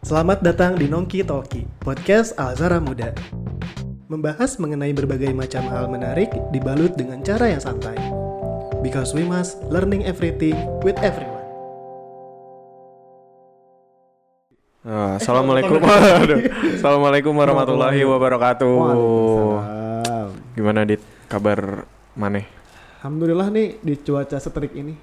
Selamat datang di Nongki Talki, podcast Alzara Muda. Membahas mengenai berbagai macam hal menarik dibalut dengan cara yang santai. Because we must learning everything with everyone. Ah, Assalamualaikum. Aduh. Assalamualaikum warahmatullahi wabarakatuh. Waalaikumsalam. Gimana dit? Kabar maneh? Alhamdulillah nih di cuaca seterik ini.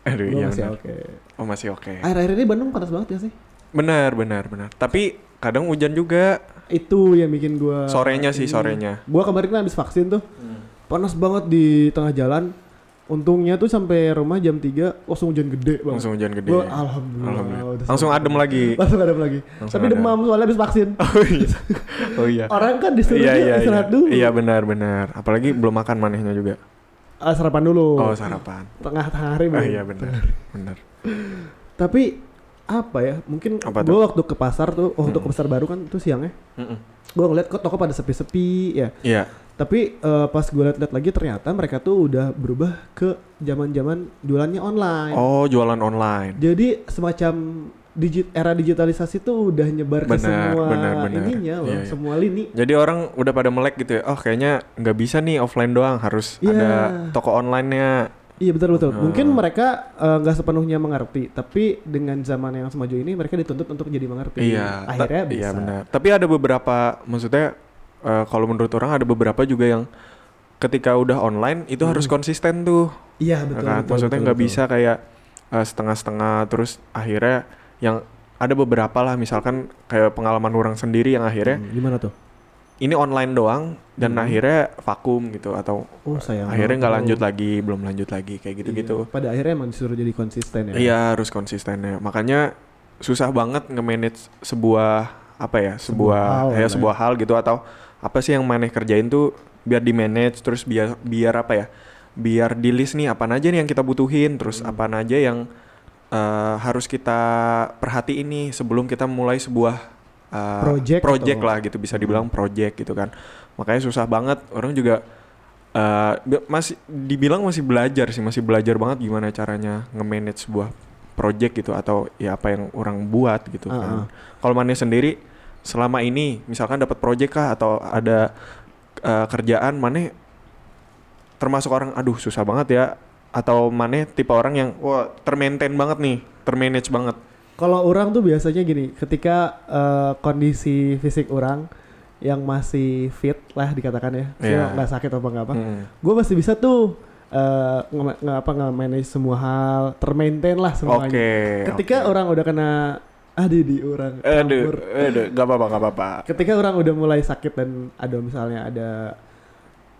Aduh, Gue iya masih benar. oke. Oh, masih oke. Akhir-akhir ini Bandung panas banget ya sih? Benar, benar, benar. Tapi kadang hujan juga. Itu ya, yang bikin gue... Sorenya iya. sih, sorenya. Gue kemarin kan habis vaksin tuh. Panas banget di tengah jalan. Untungnya tuh sampai rumah jam 3 langsung hujan gede banget. Langsung hujan gede. Gua, alhamdulillah. Alhamdulillah. udah Langsung adem lagi. Langsung ada lagi. Langsung Tapi ada. demam soalnya habis vaksin. Oh iya. Oh iya. Orang kan disuruh Iya, iya, iya. istirahat dulu. Iya, benar, benar. Apalagi belum makan manehnya juga. Ah, sarapan dulu. Oh, sarapan. Tengah hari Ah, belum. iya, benar. Benar. Tapi apa ya? Mungkin Apa Hmm. gue waktu ke pasar tuh, waktu ke pasar baru kan itu siangnya. Mm-mm. Gue ngeliat kok toko pada sepi-sepi ya. Iya. Tapi eh, pas gue liat-liat lagi ternyata mereka tuh udah berubah ke zaman-zaman jualannya online. Oh, jualan online. Jadi semacam digit era digitalisasi tuh udah nyebar ke Benar, semua benar, benar. ininya loh, Iya, iya. semua lini. Jadi orang udah pada melek gitu ya. Oh, kayaknya nggak bisa nih offline doang, harus Iya. ada toko online-nya. Iya betul betul. Nah. Mungkin mereka eh, nggak sepenuhnya mengerti, tapi dengan zaman yang semaju ini mereka dituntut untuk jadi mengerti. Iya, ta- Akhirnya bisa. Iya benar. Tapi ada beberapa, maksudnya eh, kalau menurut orang ada beberapa juga yang ketika udah online itu harus konsisten tuh, Iya, ya Hmm. betul, kan? betul. maksudnya betul, nggak betul. bisa kayak eh, setengah-setengah terus akhirnya yang ada beberapa lah misalkan kayak pengalaman orang sendiri yang akhirnya Hmm, Gimana tuh? ini online doang dan akhirnya vakum gitu atau Oh sayang. akhirnya nggak banget. lanjut lagi belum lanjut lagi kayak Iya. gitu-gitu. Pada akhirnya emang disuruh jadi konsisten ya. Iya harus konsisten ya. Makanya susah banget nge-manage sebuah apa ya, Sebuah sebuah, hal ya lah sebuah hal gitu atau apa sih yang maneh kerjain tuh biar di-manage terus biar biar apa ya? Biar di list nih apa aja nih yang kita butuhin, terus Hmm. apa aja yang eh, harus kita perhatiin nih sebelum kita mulai sebuah eh, Project atau- lah gitu bisa dibilang project gitu kan. Makanya susah banget orang juga eh, bi- masih dibilang masih belajar sih, masih belajar banget gimana caranya nge-manage sebuah project gitu atau ya apa yang orang buat gitu kan. Ah, ah. Kalau Mane sendiri selama ini misalkan dapat project kah atau ada eh, kerjaan Mane termasuk orang aduh susah banget ya atau Mane tipe orang yang wah termaintain banget nih, termanage banget. Kalau orang tuh biasanya gini, ketika eh, kondisi fisik orang yang masih fit lah dikatakan ya, maksudnya Iya. nggak sakit apa nggak apa, Hmm. gue masih bisa tuh eh, nge- nge- apa nggak manage semua hal, termaintain lah semuanya. Oke. Ketika orang udah kena aduh di orang Aduh, kabur. aduh, gak apa-apa, gak apa-apa. Ketika orang udah mulai sakit dan ada misalnya ada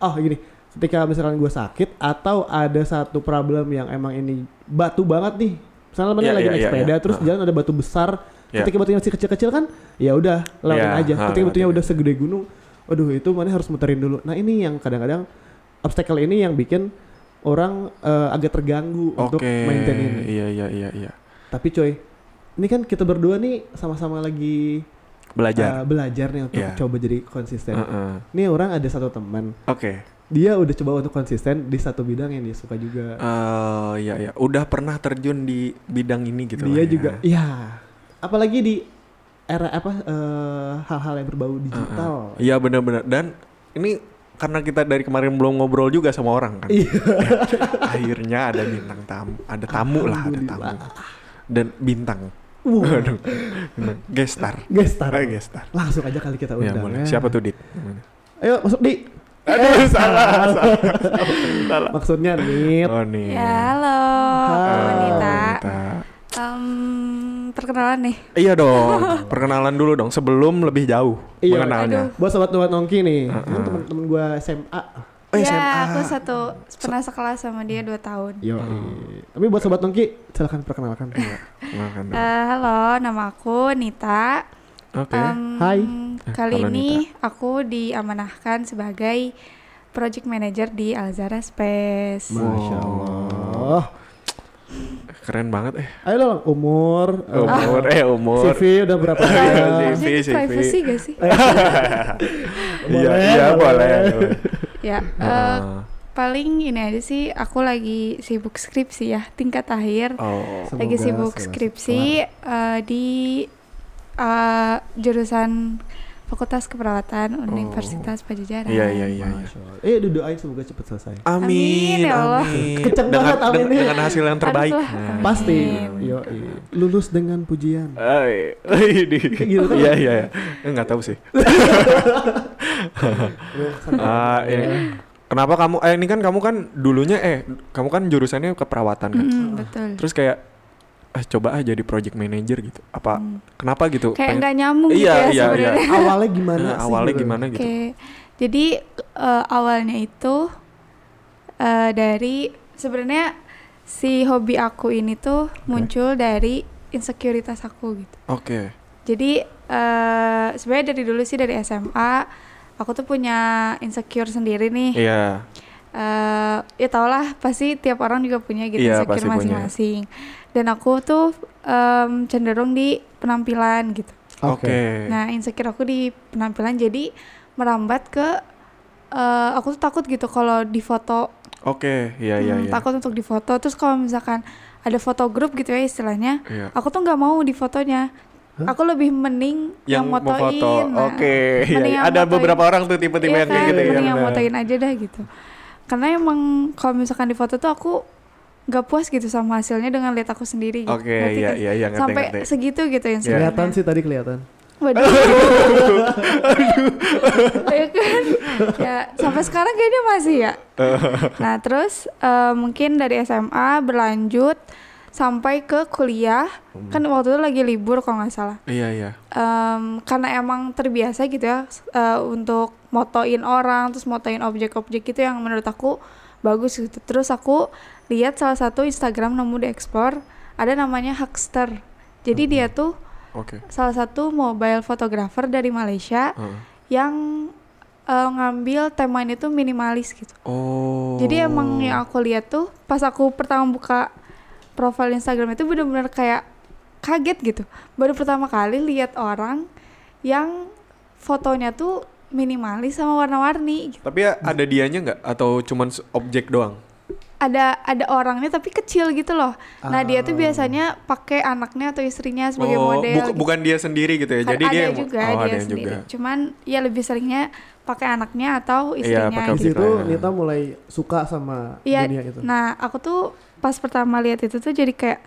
oh gini, ketika misalkan gue sakit atau ada satu problem yang emang ini batu banget nih. Misalnya mana Iya, lagi iya, naik iya, sepeda iya. terus Ah. jalan ada batu besar. Iya. Ketika batunya masih kecil-kecil kan, ya udah lewatin Iya, aja. ah, Ketika batunya lewatin. udah segede gunung, aduh itu mana harus muterin dulu. Nah, ini yang kadang-kadang obstacle ini yang bikin orang eh, agak terganggu untuk Oke. maintain ini. Iya, iya, iya, iya. Tapi coy, ini kan kita berdua nih sama-sama lagi Belajar. uh, belajar nih untuk Iya. coba jadi konsisten. Heeh. Nih orang ada satu teman, Oke. dia udah coba untuk konsisten di satu bidang yang dia suka juga. Eh, iya, iya. Udah pernah terjun di bidang ini gitu lah dia ya. juga, ya. Apalagi di era apa eh, hal-hal yang berbau digital. Iya, benar-benar. Dan ini karena kita dari kemarin belum ngobrol juga sama orang kan. Iya. Akhirnya ada bintang tamu, ada tamu lah, ada tamu. Dan bintang. Wah, Aduh. Gestar. gestar. Eh, gestar. Langsung aja kali kita Ya, undang. boleh. ya. Siapa tuh, Dit? Namanya? Ayo masuk di. Aduh, salah, salah, salah. Maksudnya nih. Oh, nih. Ya, halo, Halo, wanita. Wanita. Em, perkenalan nih. Iya dong, perkenalan dulu dong sebelum lebih jauh Iya. mengenalnya. Buat sobat-sobat nongki nih, kan teman-teman gue SMA. Oh, Ah. ya, SMA. aku satu pernah sekelas sama dia 2 tahun. Iya, Yo. Tapi buat sobat nongki, silahkan perkenalkan. Makan dong. Eh, halo, nama aku Nita. Oke. Em, eh, Hai. Kali Eh, Halo, ini aku diamanahkan sebagai project manager di Alzara Space. Masya Oh. Allah. Keren banget eh. Ayo dong, umur, eh, Oh. Umur eh umur. CV udah berapa tahun? Iya, Eh. CV, Ini CV. privacy gak sih? Iya, Boleh, iya boleh. boleh. boleh. ya, eh, Ah, paling ini aja sih aku lagi sibuk skripsi ya, tingkat akhir. oh. Semoga iya, lagi sibuk segera skripsi eh, di eh, jurusan Fakultas Keperawatan Universitas Pajajaran. Iya iya iya. iya. Masya Allah. Eh doain semoga cepat selesai. Amin, Amin, ya Allah. amin. Kenceng dengan, banget aminnya. dengan hasil yang terbaik. Aduh, Nah. Pasti. iya. Yo, Lulus dengan pujian. Eh, ini. gitu kan? Iya iya. iya. Enggak tahu sih. Ah, Iya. ini. Kenapa kamu eh ini kan kamu kan dulunya eh kamu kan jurusannya keperawatan kan. Mm-mm, betul. Terus kayak eh coba ah jadi project manager gitu. Apa kenapa gitu? Mm. Kayak Pengen- nggak nyambung gitu Iya, ya iya, sebenarnya. iya. Awalnya gimana Nah, sih? awalnya gitu? gimana Oke, gitu? jadi eh, awalnya itu eh, dari sebenarnya si hobi aku ini tuh muncul dari insekuritas aku gitu. Oke. Jadi eh, sebenarnya dari dulu sih dari SMA aku tuh punya insecure sendiri nih. Iya. Eh, ya tau lah pasti tiap orang juga punya gitu Iya, pasti insecure punya. masing-masing. Dan aku tuh em, cenderung di penampilan gitu. Oke. Nah, insecure aku di penampilan jadi merambat ke eh, aku tuh takut gitu kalau difoto. Oke, iya iya Hmm, iya. Takut untuk difoto. Terus kalau misalkan ada foto grup gitu ya istilahnya, Iya. aku tuh nggak mau difotonya. Aku lebih mending yang, mau motoin. foto. nah. Oke, iya, Mending iya. yang Ada motoin. beberapa orang tuh tipe-tipe Iya yang kayak kan, gitu ya. mending yang benar. motoin aja dah gitu. Karena emang kalau misalkan difoto tuh aku nggak puas gitu sama hasilnya dengan lihat aku sendiri. gitu. Oke, Ngerti iya, kan? iya, iya, ngerti, Sampai ngerti. Iya. segitu gitu yang ya. Kelihatan sih tadi kelihatan. Waduh. ya kan? Ya, sampai sekarang kayaknya masih ya. Nah, terus eh, mungkin dari SMA berlanjut sampai ke kuliah. Hmm. Kan waktu itu lagi libur kalau nggak salah. Iya iya. Em, karena emang terbiasa gitu ya s- eh, untuk motoin orang, terus motoin objek-objek gitu yang menurut aku bagus gitu. Terus aku lihat salah satu Instagram nemu di explore ada namanya Huckster. Jadi dia tuh Oke. salah satu mobile photographer dari Malaysia Heeh. yang eh, ngambil tema ini tuh minimalis gitu. Oh. Jadi emang yang aku lihat tuh pas aku pertama buka profil Instagram itu bener-bener kayak kaget gitu. Baru pertama kali lihat orang yang fotonya tuh minimalis sama warna-warni. gitu. Tapi ya ada dianya nggak atau cuman s- objek doang? Ada ada orangnya tapi kecil gitu loh. Nah, dia tuh biasanya pakai anaknya atau istrinya sebagai Ah. oh, model. buk- gitu. bukan dia sendiri gitu ya. Kan Jadi ada dia yang- juga oh, dia ada yang sendiri. juga. Cuman ya lebih seringnya pakai anaknya atau Iya, istrinya pakai Di Oke, gitu. situ Pak. Nita mulai suka sama Iya. dunia gitu. itu. Nah, aku tuh pas pertama lihat itu tuh jadi kayak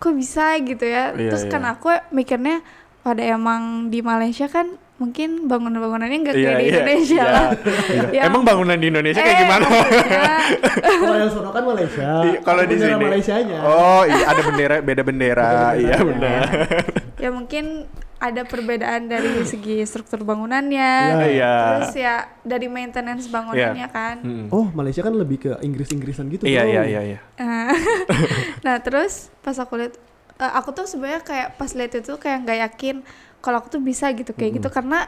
kok bisa gitu ya. Iya, Terus kan iya. aku mikirnya pada emang di Malaysia kan mungkin bangunan-bangunannya nggak Iya, kayak di iya, Indonesia iya. lah. Iya. Emang bangunan di Indonesia kayak Eh, gimana? maksudnya, Kalau yang sono kan Malaysia. Di- Kalau di Bendera sini. Malaysianya. Oh, iya ada bendera, beda bendera. iya benar. ya mungkin ada perbedaan dari segi struktur bangunannya. Iya. Terus ya dari maintenance bangunannya kan. Hmm. Oh, Malaysia kan lebih ke Inggris-Inggrisan gitu. Iya bro. iya iya iya. Nah, nah terus pas aku lihat eh, aku tuh sebenarnya kayak pas lihat itu kayak nggak yakin kalau aku tuh bisa gitu kayak gitu karena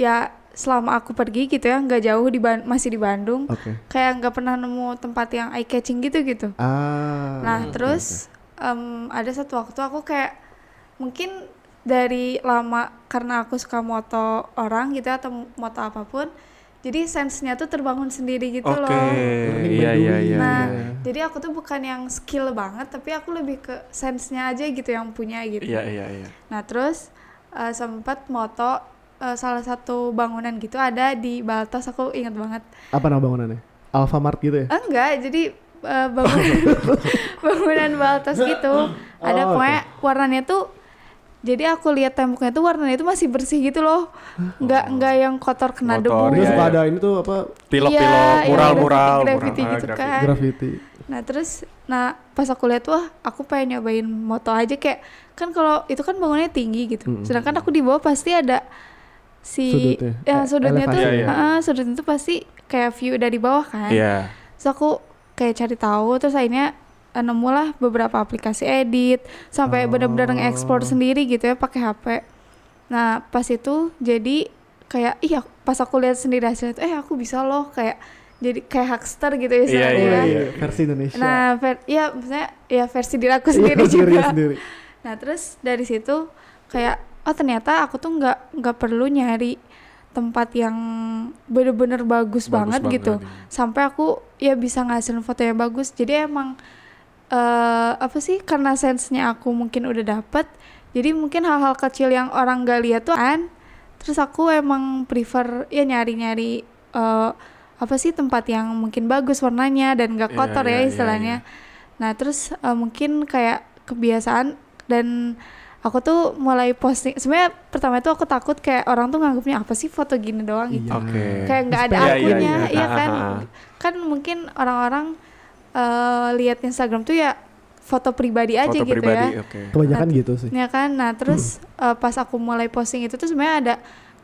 ya selama aku pergi gitu ya nggak jauh di Ban- masih di Bandung Oke. kayak nggak pernah nemu tempat yang eye catching gitu gitu Ah. nah terus em, ada satu waktu aku kayak mungkin dari lama karena aku suka moto orang gitu atau moto apapun jadi sense-nya tuh terbangun sendiri gitu Oke. loh Learning Iya by iya doing. iya. Nah, iya. jadi aku tuh bukan yang skill banget, tapi aku lebih ke sense-nya aja gitu yang punya gitu. Iya iya iya. Nah, terus eh, sempat moto eh, salah satu bangunan gitu ada di Baltos, aku inget banget. Apa nama bangunannya? Alfamart gitu ya? Eh, enggak, jadi eh, bangunan bangunan Baltos gitu. Ada Oh, pokoknya warnanya tuh jadi aku lihat temboknya tuh warnanya itu masih bersih gitu loh. Enggak enggak yang kotor Oh. kena Kotor, Terus iya, debu. suka iya. ada ini tuh apa? Pilok-pilok, Iya, iya, mural-mural, graffiti mural. gitu Ah, kan. Graffiti. Nah terus, nah pas aku lihat wah aku pengen nyobain moto aja kayak kan kalau itu kan bangunannya tinggi gitu, sedangkan aku di bawah pasti ada si Sudutnya. ya sudutnya tuh, Elevasi. Iya, iya. heeh, sudutnya tuh pasti kayak view dari bawah kan. Iya. Terus aku kayak cari tahu, terus akhirnya eh, nemulah beberapa aplikasi edit Oh. sampai bener-bener nge-explore sendiri gitu ya pakai HP. Nah pas itu jadi kayak iya pas aku lihat sendiri hasilnya tuh, eh aku bisa loh kayak jadi kayak hackster gitu ya Iya, istilahnya. iya, Oh, iya. Versi Indonesia. Nah, ver- ya maksudnya ya versi diri aku Iya, sendiri diri juga. sendiri. Nah, terus dari situ kayak oh ternyata aku tuh nggak nggak perlu nyari tempat yang bener-bener Bagus bagus, banget, banget, gitu. iya. Sampai aku ya bisa ngasilin foto yang bagus. Jadi emang eh, apa sih karena sense-nya aku mungkin udah dapet jadi mungkin hal-hal kecil yang orang gak lihat tuh kan terus aku emang prefer ya nyari-nyari eh, apa sih tempat yang mungkin bagus warnanya dan Iya, gak kotor iya, ya iya, istilahnya nah terus eh, mungkin kayak kebiasaan dan aku tuh mulai posting sebenarnya pertama itu aku takut kayak orang tuh nganggapnya apa sih foto gini doang gitu Iya. Oke. kayak nggak ada Iya, iya, akunya iya. iya kan Ah, ah, ah. kan mungkin orang-orang eh, lihat Instagram tuh ya foto pribadi aja Foto gitu pribadi, ya oke. Kebanyakan gitu sih. ya kan nah terus eh, pas aku mulai posting itu tuh sebenarnya ada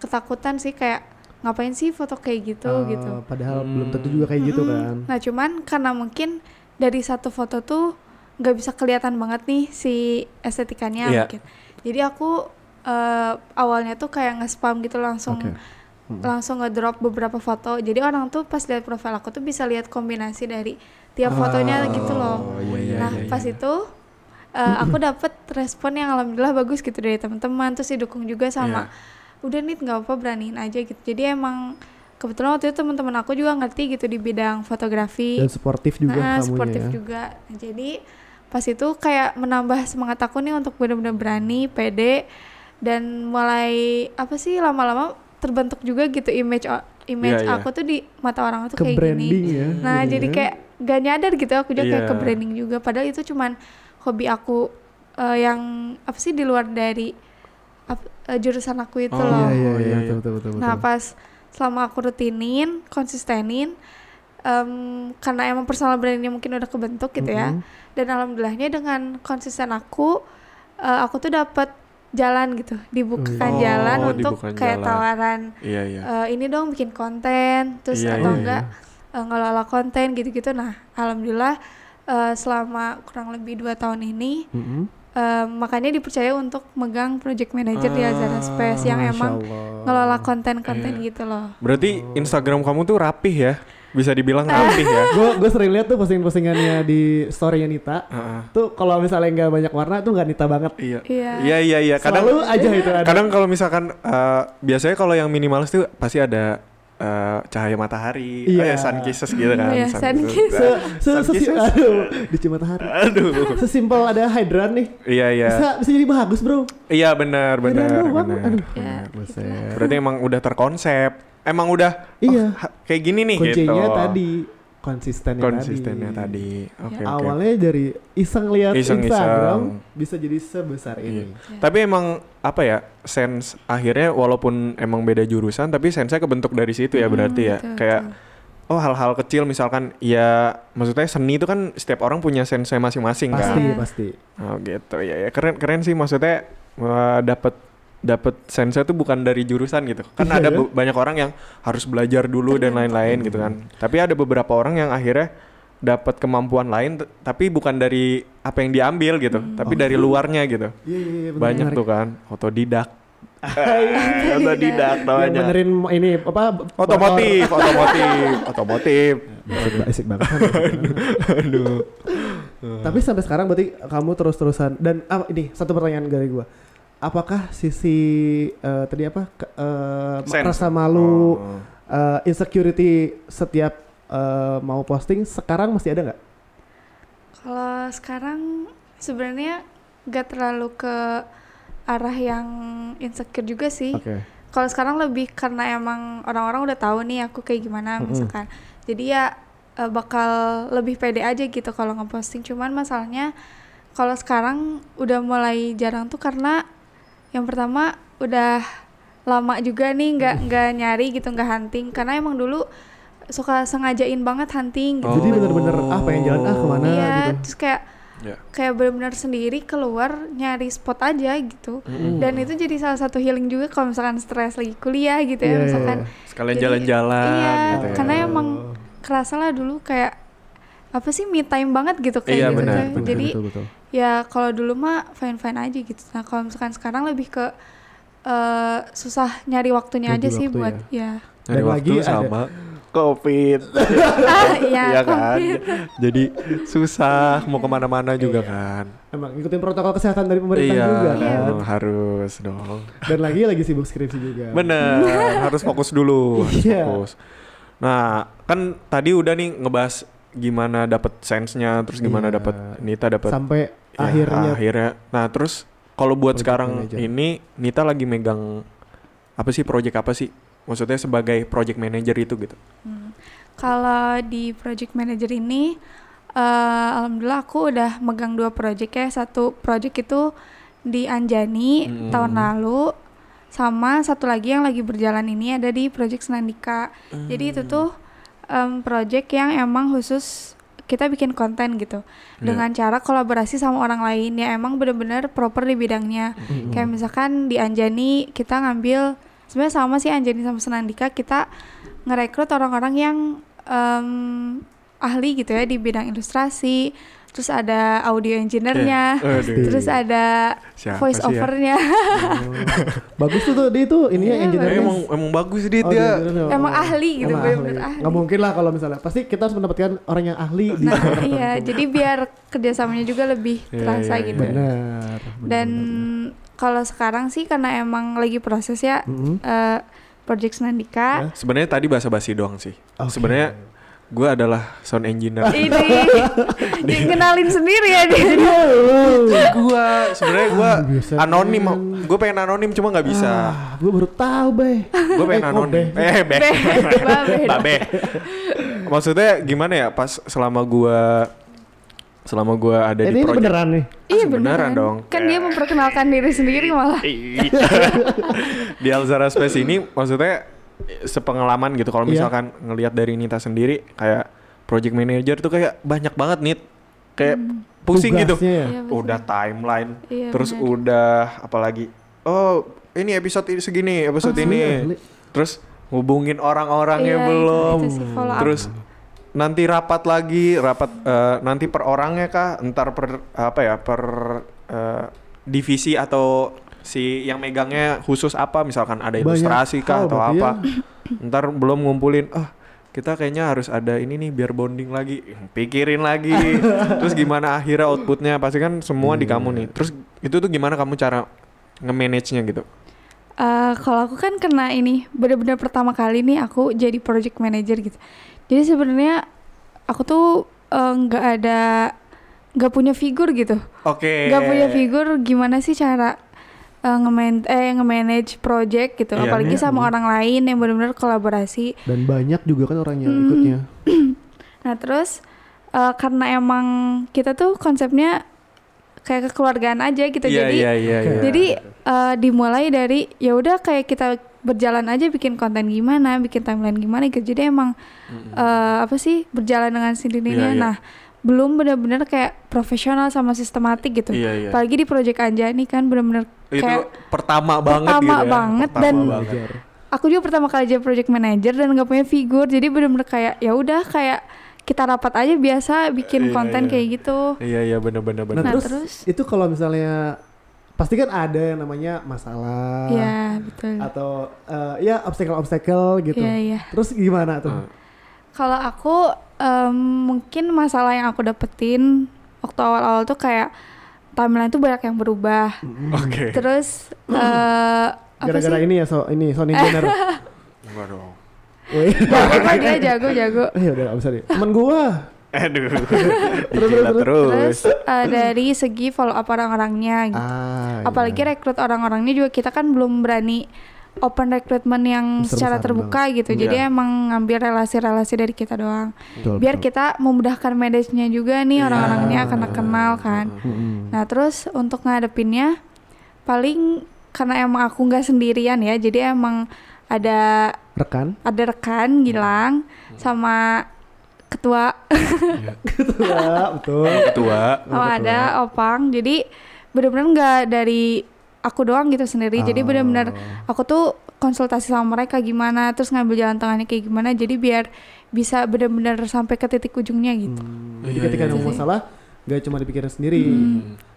ketakutan sih kayak ngapain sih foto kayak gitu Eh, gitu Padahal Hmm. belum tentu juga kayak gitu Mm-mm. kan. nah cuman karena mungkin dari satu foto tuh nggak bisa kelihatan banget nih si gitu. estetikanya Iya. mungkin jadi aku eh, awalnya tuh kayak nge-spam gitu langsung Oke. langsung ngedrop beberapa foto. Jadi orang tuh pas lihat profil aku tuh bisa lihat kombinasi dari tiap fotonya gitu loh. iya, iya, nah, iya, pas iya. itu eh, aku dapet respon yang alhamdulillah bagus gitu dari teman-teman, terus didukung juga Iya. sama udah nih nggak apa beraniin aja gitu. Jadi emang kebetulan waktu itu teman-teman aku juga ngerti gitu di bidang fotografi. Dan sportif juga Nah, kamunya sportif ya. juga. Nah, jadi pas itu kayak menambah semangat aku nih untuk benar-benar berani, pede dan mulai apa sih lama-lama terbentuk juga gitu image o- image Iya, iya. aku tuh di mata orang tuh Ke kayak branding gini. ya. Nah, jadi kayak gak nyadar gitu aku juga kayak Iya. ke branding juga padahal itu cuman hobi aku eh, yang apa sih di luar dari ap- eh, jurusan aku itu Oh, loh. Iya iya Oh, iya, iya iya. betul betul betul. betul. Nah pas selama aku rutinin, konsistenin, em, karena emang personal brandingnya mungkin udah kebentuk gitu ya. Mhm. Dan alhamdulillahnya dengan konsisten aku, eh, aku tuh dapat jalan gitu, dibukakan Oh, jalan untuk dibukakan kayak jalan. tawaran Iya, iya. eh, ini dong bikin konten, terus Iya, atau iya, enggak eh, ngelola konten gitu-gitu. Nah alhamdulillah eh, selama kurang lebih dua tahun ini. Mhm. eh, makanya dipercaya untuk megang project manager di Ah, Azara Space yang Masya emang Allah. ngelola konten-konten Iya. gitu loh. Berarti Instagram kamu tuh rapih ya? Bisa dibilang rapih ya? gue gue sering lihat tuh posting-postingannya di story-nya Nita. Heeh. Tuh kalau misalnya nggak banyak warna tuh nggak Nita banget. Iya. Iya. Iya, iya, iya. Kadang Selalu aja itu ada. kadang kalau misalkan eh, biasanya kalau yang minimalis tuh pasti ada eh, cahaya matahari, eh, Iya. sun kisses gitu kan. Iya, sun kisses. se se Sun sesi- kisses. aduh di cuma hari. Aduh. Sesimpel ada hydran nih. Iya, iya. Bisa bisa jadi bagus, Bro. Iya, benar, benar, Hydran doang. benar. Aduh. Ya, Buset. Berarti emang udah terkonsep. Emang udah oh, Iya. ha- kayak gini nih Kuncinya gitu. tadi konsistennya, konsistennya tadi. Oke, Iya. oke. Awalnya dari iseng lihat Iseng-iseng. Iya. Instagram bisa jadi sebesar ini. Iya. Tapi emang apa ya sense akhirnya walaupun emang beda jurusan tapi sense-nya kebentuk dari situ ya berarti ya Hmm, betul, kayak oh hal-hal kecil misalkan ya maksudnya seni itu kan setiap orang punya sense masing-masing kan. Pasti Iya. pasti. Oh gitu ya, ya. keren keren sih maksudnya eh, dapat dapat sense tuh bukan dari jurusan gitu kan Iya, ada ya. be- banyak orang yang harus belajar dulu dan lain-lain gitu kan Hmm. tapi ada beberapa orang yang akhirnya dapat kemampuan lain t- tapi bukan dari apa yang diambil gitu tapi dari luarnya gitu Hmm. Oh, Iya iya iya, bener, banyak menarik. Iya, tuh kan otodidak Otodidak. otodidak Yang namanya benerin ini apa otomotif otomotif otomotif Basic, basic banget. aduh Tapi sampai sekarang berarti kamu terus-terusan dan ah, ini satu pertanyaan dari gua. Apakah sisi eh, tadi apa ke- eh, Sense. rasa malu Oh. eh, insecurity setiap eh, mau posting sekarang masih ada nggak? Kalau sekarang sebenarnya gak terlalu ke arah yang insecure juga sih. Kalau sekarang lebih karena emang orang-orang udah tahu nih aku kayak gimana Mm-mm. misalkan. Jadi ya eh, bakal lebih pede aja gitu kalau ngeposting. Cuman masalahnya kalau sekarang udah mulai jarang tuh karena yang pertama udah lama juga nih nggak nggak nyari gitu nggak hunting karena emang dulu suka sengajain banget hunting gitu. Jadi bener-bener Oh. ah pengen jalan ah kemana Iya, gitu. terus kayak Ya. kayak benar-benar sendiri keluar nyari spot aja gitu. Dan itu jadi salah satu healing juga kalau misalkan stres lagi kuliah gitu Iya, ya, iya, misalkan. iya. sekalian Jadi- jalan-jalan Iya, gitu ya. karena emang kerasa lah dulu kayak apa sih me time banget gitu kayak Iya, gitu. benar, tuh. benar, jadi betul, betul. ya kalau dulu mah fine fine aja gitu. Nah kalau misalkan sekarang lebih ke eh, susah nyari waktunya Bagi aja sih waktu buat ya. Nyari Dan waktu lagi ada- sama covid Ah, iya, Iya kan komplit. jadi susah mau kemana-mana juga kan Emang ikutin protokol kesehatan dari pemerintah iya Iya. juga kan. Iya. dong, harus dong Dan lagi lagi sibuk skripsi juga. bener harus fokus dulu harus Iya. fokus nah kan tadi udah nih ngebahas gimana dapat sense-nya, terus gimana Iya. dapat Nita dapat sampai Ya, akhirnya akhirnya. Nah, terus kalau buat Project sekarang manager. ini Nita lagi megang apa sih project apa sih? Maksudnya sebagai project manager itu gitu. Kalau di project manager ini, eh, alhamdulillah aku udah megang dua project ya. Satu project itu di Anjani Mm-mm. tahun lalu, sama satu lagi yang lagi berjalan ini ada di project Senandika. Hmm. Jadi itu tuh em, project yang emang khusus kita bikin konten gitu Iya. dengan cara kolaborasi sama orang lain ya emang bener-bener proper di bidangnya. Hmm. Kayak misalkan di Anjani kita ngambil sebenarnya sama sih Anjani sama Senandika kita ngerekrut orang-orang yang em, ahli gitu ya di bidang ilustrasi, terus ada audio engineer-nya, Iya. Aduh. terus ada Siapa voice sih ya? over-nya. bagus tuh tuh dia tuh ya, ininya Iya, Eh, engineer emang emang bagus Oh, ya. dia dia. Emang ahli gitu, bener-bener ahli. Gak mungkin lah kalau misalnya. Pasti kita harus mendapatkan orang yang ahli di Nah, iya, jadi biar kerjasamanya juga lebih Iya, terasa iya, gitu. iya. Benar. Dan kalau sekarang sih karena emang lagi proses ya Mm-hmm. Mm-mm. eh, Project Senandika. Sebenarnya tadi basa-basi doang sih. Oke. Sebenarnya gue adalah sound engineer. Ini dikenalin sendiri ya dia. gue sebenarnya gue Ah, biasa anonim. Gue pengen anonim cuma nggak bisa. Ah, gue baru tahu, Bay. gue pengen Eh, kok anonim Bay? eh be Babe. babe maksudnya gimana ya pas selama gua selama gua ada Ini, di ini project beneran nih. Iya beneran dong. Iya. Kan dia memperkenalkan diri sendiri malah. di Alzara Space ini maksudnya sepengalaman gitu kalau Iya. misalkan ngelihat dari Nita sendiri kayak project manager tuh kayak banyak banget nih kayak pusing gitu Tugasnya ya. Hmm. Iya, betul. udah timeline Iya, terus benar. udah apalagi oh ini episode ini segini episode Ah, ini iya. terus ngubungin orang-orangnya Iya, itu- belum itu sih follow up. terus nanti rapat lagi rapat eh, nanti per orangnya kah entar per apa ya per eh, divisi atau si yang megangnya khusus apa misalkan ada Banyak ilustrasi kah hal atau berarti apa ya. ntar belum ngumpulin ah kita kayaknya harus ada ini nih biar bonding lagi pikirin lagi terus gimana akhirnya outputnya pasti kan semua di kamu Hmm. nih terus itu tuh gimana kamu cara nge-manage-nya gitu Eh, kalau aku kan kena ini bener-bener pertama kali nih aku jadi project manager gitu. Jadi sebenarnya aku tuh eh, nggak ada nggak punya figur gitu. oke nggak punya Eh. figur gimana sih cara eh, nge-man- eh, nge-manage project gitu Iya, apalagi iya. sama orang lain yang benar-benar kolaborasi Dan banyak juga kan orang yang ikutnya. nah terus eh, karena emang kita tuh konsepnya kayak kekeluargaan aja gitu Iya, jadi iya, iya, Oke. iya. jadi eh, dimulai dari ya udah kayak kita berjalan aja bikin konten gimana, bikin timeline gimana gitu. Jadi emang eh, apa sih berjalan dengan Iya, sendirinya. iya. Nah, belum benar-benar kayak profesional sama sistematik gitu. Iya, iya. Apalagi di project Anjani kan benar-benar itu kayak pertama banget pertama gitu ya. banget Pertama dan- banget. Belajar. aku juga pertama kali jadi project manager dan nggak punya figur. Jadi benar-benar kayak ya udah kayak kita rapat aja biasa bikin Iya, konten iya. kayak gitu. iya iya bener bener bener Nah, Nah, terus, terus- itu kalau misalnya pasti kan ada yang namanya masalah Iya, betul. atau eh, ya obstacle-obstacle gitu. Iya, iya. Terus gimana tuh? Ah. Kalau aku em, mungkin masalah yang aku dapetin waktu awal-awal tuh kayak timeline tuh banyak yang berubah. Ah, oke Terus eh apa Hmm. Gara-gara sih? ini ya so ini Sony Jenner. enggak dong Woi. Jago kok dia jago jago. Eh udah gak bisa deh. Temen gua. aduh Terus, Dijilat terus, terus Terus eh, dari segi follow up orang-orangnya gitu. Ah, Apalagi iya. rekrut orang-orangnya juga kita kan belum berani open recruitment yang secara Besar-besaran terbuka gitu. Jadi Iya. emang ngambil relasi-relasi dari kita doang. Betul, Biar betul. Iya. kita memudahkan manage-nya juga nih orang-orangnya karena kenal kan. Mm-mm. Nah terus untuk ngadepinnya paling karena emang aku nggak sendirian ya, jadi emang ada rekan. ada rekan Gilang sama ketua Iya, betul. ketua oh, ada Opang. Jadi benar-benar nggak dari aku doang gitu sendiri. Jadi benar-benar Oh. aku tuh konsultasi sama mereka gimana, terus ngambil jalan tengahnya kayak gimana. Jadi biar bisa benar-benar sampai ke titik ujungnya gitu. Jadi Iya, ketika iya, ada iya. masalah gak cuma dipikirin sendiri.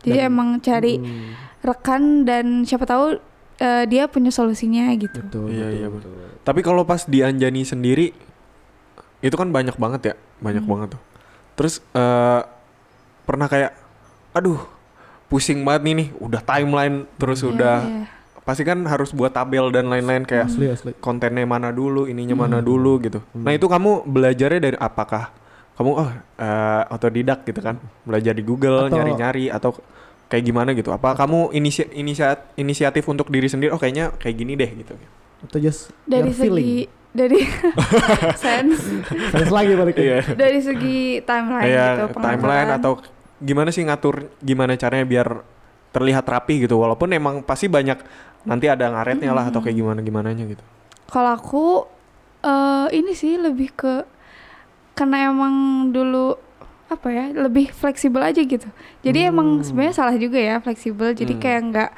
Jadi Dan- emang cari Hmm. rekan dan siapa tahu eh, dia punya solusinya gitu. Betul. Iya, iya, betul, betul. tapi kalau pas di Anjani sendiri itu kan banyak banget ya Hmm. banyak banget tuh terus eh, pernah kayak aduh pusing banget nih nih udah timeline terus Iya, udah iya. pasti kan harus buat tabel dan lain-lain kayak Asli asli. Hmm. kontennya mana dulu, ininya mana dulu gitu. Nah itu kamu belajarnya dari apakah kamu oh eh, otodidak gitu kan belajar di Google Atau- nyari-nyari atau kayak gimana gitu apa kamu inisi inisiat- inisiatif untuk diri sendiri oh kayaknya kayak gini deh gitu Atau just Ya, dari your segi feeling. dari sense Sains lagi balik ya? iya dari segi timeline gitu kayak pengambilan. Iya, timeline atau gimana sih ngatur gimana caranya biar terlihat rapi gitu walaupun emang pasti banyak nanti ada ngaretnya lah atau Hmm. kayak gimana gimananya gitu kalau aku eh ini sih lebih ke karena emang dulu apa ya lebih fleksibel aja gitu jadi emang sebenarnya salah juga ya fleksibel jadi Hmm. kayak nggak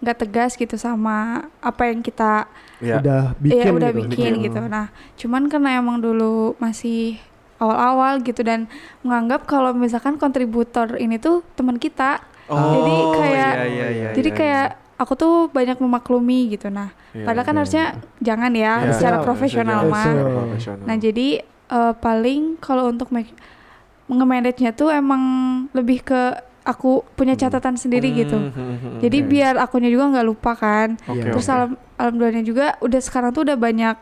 nggak tegas gitu sama apa yang kita ya Udah bikin Iya udah gitu. bikin gitu. Nah, cuman karena emang dulu masih awal-awal gitu dan menganggap kalau misalkan kontributor ini tuh teman kita. jadi kayak Oh, iya, iya, iya, jadi iya, kayak aku tuh banyak memaklumi gitu. Nah, iya. padahal kan Iya, harusnya jangan ya iya. secara Harusnya- profesional harusnya mah. jangan. Secara profesional. Nah, jadi eh, paling kalau untuk make nge-manage-nya tuh emang lebih ke aku punya catatan sendiri gitu. Hmm, hmm, hmm, hmm. Jadi biar akunya juga nggak lupa kan. Oke, Iya. Terus oke. alam alhamdulillahnya juga udah sekarang tuh udah banyak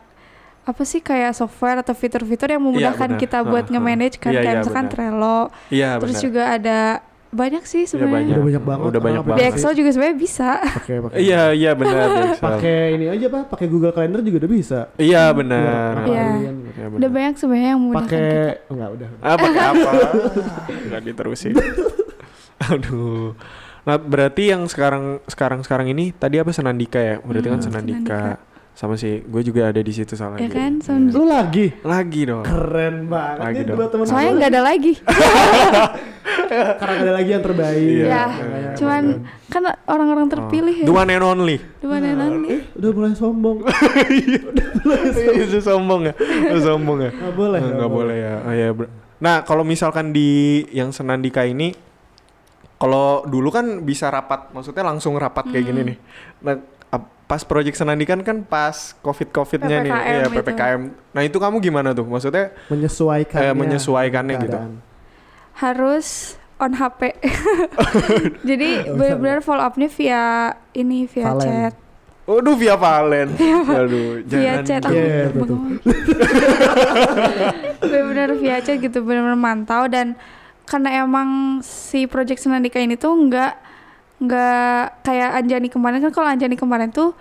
apa sih kayak software atau fitur-fitur yang memudahkan Iya, benar. kita buat Heeh, nge-manage kan heeh. Iya, kayak iya, misalkan benar. Trello. iya Terus benar. juga ada banyak sih Udah sebenarnya. Udah banyak banget udah banyak orang Di banget aplikasi. Excel juga sebenarnya bisa. Pakai pakai. iya iya benar di Excel. Pakai ini aja pak, pakai Google Calendar juga udah bisa. iya benar Iya. Iya, benar. Udah banyak sebenarnya yang memudahkan gitu. Pakai kita. enggak udah. udah. Ah, pakai apa? Enggak diterusin. Aduh. Nah, berarti yang sekarang sekarang sekarang ini tadi apa Senandika ya? Berarti kan Hmm, Senandika. Sama sih, gue juga ada di situ salah. Ya lagi. kan? Sen- iya. Lu lagi Lagi dong. keren banget Lagi ini dong. dua teman Soalnya gue. nggak ada lagi. karena ada lagi yang terbaik. Iya. ya. Makanya- Cuman kan orang-orang terpilih The ya. one and only. Dua Eh. nanti. udah mulai sombong. Itu sombong ya. Itu sombong ya. Enggak boleh. Eh, nggak boleh ya. Oh, iya, bro. Nah, kalau misalkan di yang Senandika ini kalau dulu kan bisa rapat, maksudnya langsung rapat kayak Hmm. gini nih. Nah, ap- pas Project Senandikan kan pas Covid-Covidnya nih, PPKM iya, gitu. PPKM. Nah, itu kamu gimana tuh? Maksudnya Menyesuaikan. ya. eh, menyesuaikannya gitu. harus on HP. Jadi benar-benar follow up-nya via ini via Valen. chat. Waduh, via Valen. Iya, Aduh, jangan. via gitu. chat dong. aku Iya, iya, betul. bengong. bener-bener via chat gitu bener-bener mantau dan karena emang si project Senandika ini tuh nggak nggak kayak Anjani kemarin kan kalau Anjani kemarin tuh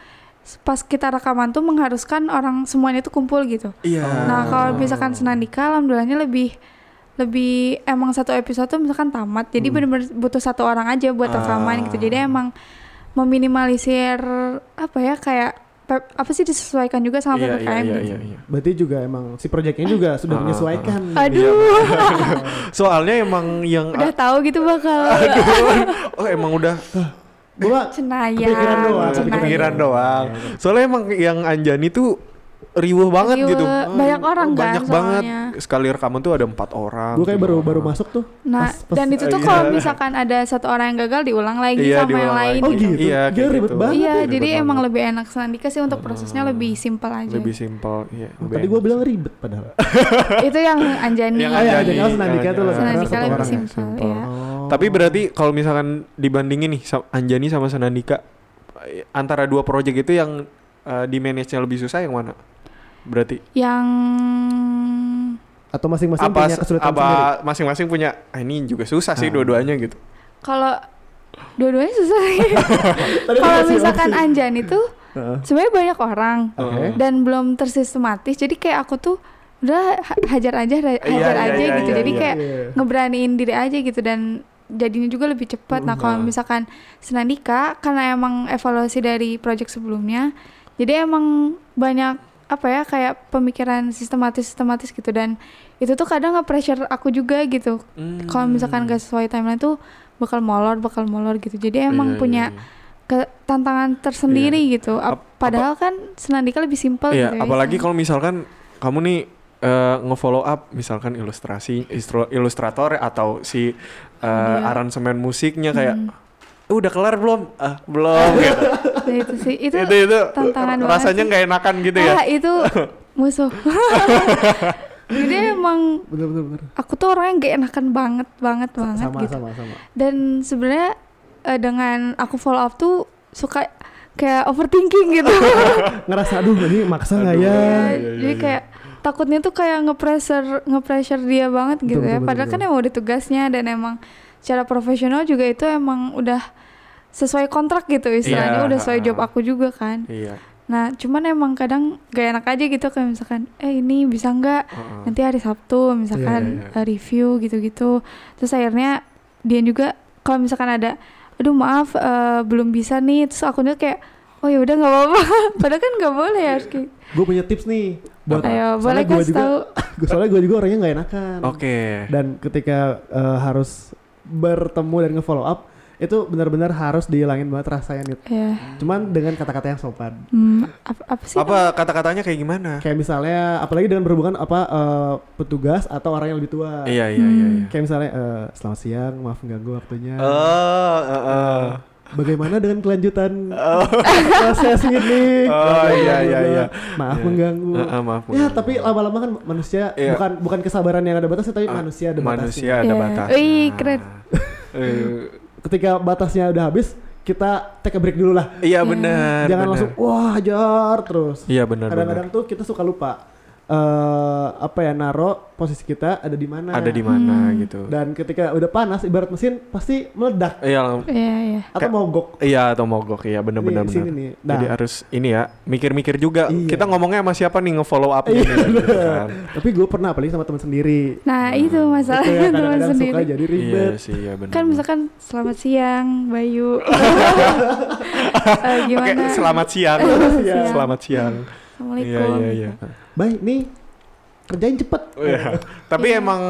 pas kita rekaman tuh mengharuskan orang semuanya tuh kumpul gitu. Iya. Nah kalau misalkan Senandika alhamdulillahnya lebih lebih emang satu episode tuh misalkan tamat jadi Hmm. bener-bener butuh satu orang aja buat Ah. rekaman gitu jadi emang meminimalisir apa ya kayak pe- apa sih disesuaikan juga sama Iya, iya, ppkm iya, gitu. iya, iya. Berarti juga emang si project ini juga sudah Ah, menyesuaikan. Iya, aduh Soalnya emang yang udah tahu gitu bakal Ah. oh emang udah Gua cenayang Kepikiran doang, cenayang. kepikiran doang. Iya, Soalnya emang yang Anjani tuh riuh banget Riuh, gitu. banyak orang kan Banyak banget. soalnya. Sekali rekaman tuh ada empat orang. gitu. gue kayak tiga baru orang. baru masuk tuh. nah Pas- dan pas- itu tuh iya. kalau misalkan ada satu orang yang gagal diulang lagi Iya, gitu sama yang diulang lain Oh lagi. gitu. gitu. Iya, Dia kayak ribet gitu. banget. iya tuh. jadi Ribet emang banget. Ah. lebih enak Senandika sih untuk prosesnya lebih simpel aja lebih simpel. Iya, Oh, lebih Tadi gue enak. bilang ribet padahal. itu yang Anjani Yang Ah, iya, Anjani, jangan Senandika yang tuh loh, Anjani. sekarang Senandika satu lebih orang ya, simpel simpel. ya Oh. Tapi berarti kalau misalkan dibandingin nih sa- Anjani sama Senandika eh, antara dua project itu yang eh, di manage-nya lebih susah yang mana? Berarti yang atau masing-masing apa punya kesulitan apa sendiri. masing-masing punya ah, ini juga susah sih Ah. dua-duanya gitu. kalau dua-duanya susah Tadi kalau masih- misalkan masih. Anjani tuh Heeh. sebenarnya banyak orang Oke. dan belum tersistematis jadi kayak aku tuh udah ha- hajar aja Iya, ra- hajar iya, aja iya, gitu iya, jadi iya. kayak Iya. ngeberaniin diri aja gitu dan jadinya juga lebih cepat nah kalau Nah. misalkan Senandika karena emang evaluasi dari project sebelumnya jadi emang banyak apa ya kayak pemikiran sistematis sistematis gitu dan itu tuh kadang nge-pressure aku juga gitu kalau Hmm. misalkan gak sesuai timeline tuh bakal molor bakal molor gitu jadi Iya, emang punya iya, iya. ke- tantangan tersendiri gitu Ap- Ap- padahal kan Senandika lebih simpel Iya, gitu ya, apalagi Sen- kalau misalkan kamu nih eh, nge-follow up misalkan ilustrasi istru- ilustrator atau si eh, Audio. aransemen musiknya kayak Hmm. "Eh, udah kelar belum? Ah, belum gitu. Nah, itu sih itu, itu itu, tantangan banget rasanya sih. nggak enakan gitu ya. ah, itu musuh jadi emang Bener bener bener. aku tuh orangnya gak enakan banget banget banget Sama gitu sama sama. dan sebenarnya eh, dengan aku follow up tuh suka kayak overthinking gitu Ngerasa aduh ini maksa nggak Aduh. ya? Iya, iya, jadi iya. kayak takutnya tuh kayak nge-pressure nge-pressure dia banget Betul, gitu betul, ya. betul, Padahal betul. kan emang udah tugasnya dan emang secara profesional juga itu emang udah sesuai kontrak gitu Iya, istilahnya udah sesuai ha-ha. job aku juga kan. Iya. Nah, cuman emang kadang gak enak aja gitu kayak misalkan, "Eh, ini bisa nggak heeh. nanti hari Sabtu misalkan Iya, iya, iya. eh, review gitu-gitu." Terus akhirnya dia juga kalau misalkan ada, "Aduh, maaf eh, belum bisa nih." Terus aku tuh kayak, "Oh ya udah nggak apa-apa." Padahal kan nggak boleh ya, harus kayak- Gue punya tips nih buat Apa? Ayo, soalnya boleh gua kasih juga- tahu. Gua- soalnya gue juga orangnya nggak enakan. Oke. Dan ketika eh, harus bertemu dan nge-follow up itu benar-benar harus dihilangin banget rasanya nih. Ya, Cuman dengan kata-kata yang sopan. hmm, apa, apa sih? Apa kata-katanya kayak gimana? Kayak misalnya apalagi dengan berhubungan apa eh, petugas atau orang yang lebih tua. Iya, iya, iya, Hmm. iya. Kayak misalnya eh, selamat siang, maaf mengganggu waktunya. Eh, eh, eh. Bagaimana dengan kelanjutan proses ini? Oh, Bla, bla, bla, iya, bla, iya, bla. iya. Maaf Iya. mengganggu. Eh, eh, maaf. Ya, Bu. tapi lama-lama kan manusia Iya. bukan bukan kesabaran yang ada batasnya tapi Ah, manusia ada manusia ada batasnya. Eh, Iya. batas. Wih, keren. Ketika batasnya udah habis, kita take a break dulu lah. iya benar. Jangan benar. langsung wah hajar terus. Iya benar. benar. Kadang-kadang tuh kita suka lupa eh apa ya naro posisi kita ada di mana. Ada di mana Hmm. gitu. Dan ketika udah panas ibarat mesin pasti meledak Iya, lang- Iya, iya. atau Kayak- mogok. iya atau mogok ya Ini, benar-benar. sini benar. nih. Nah, Jadi harus ini ya, mikir-mikir juga. Iya. Kita ngomongnya sama siapa nih nge-follow up Iya, kan. tapi gue pernah apalagi sama teman sendiri. Nah, Hmm, itu Itu masalahnya yang teman kadang-kadang suka sendiri. jadi Iya ribet. sih, iya benar. Kan misalkan selamat siang, Bayu. Eh, Oke, gimana? selamat siang. siang. selamat siang. Iya, Assalamualaikum. iya, iya. Baik nih kerjain cepet. Iya. Tapi Iya. emang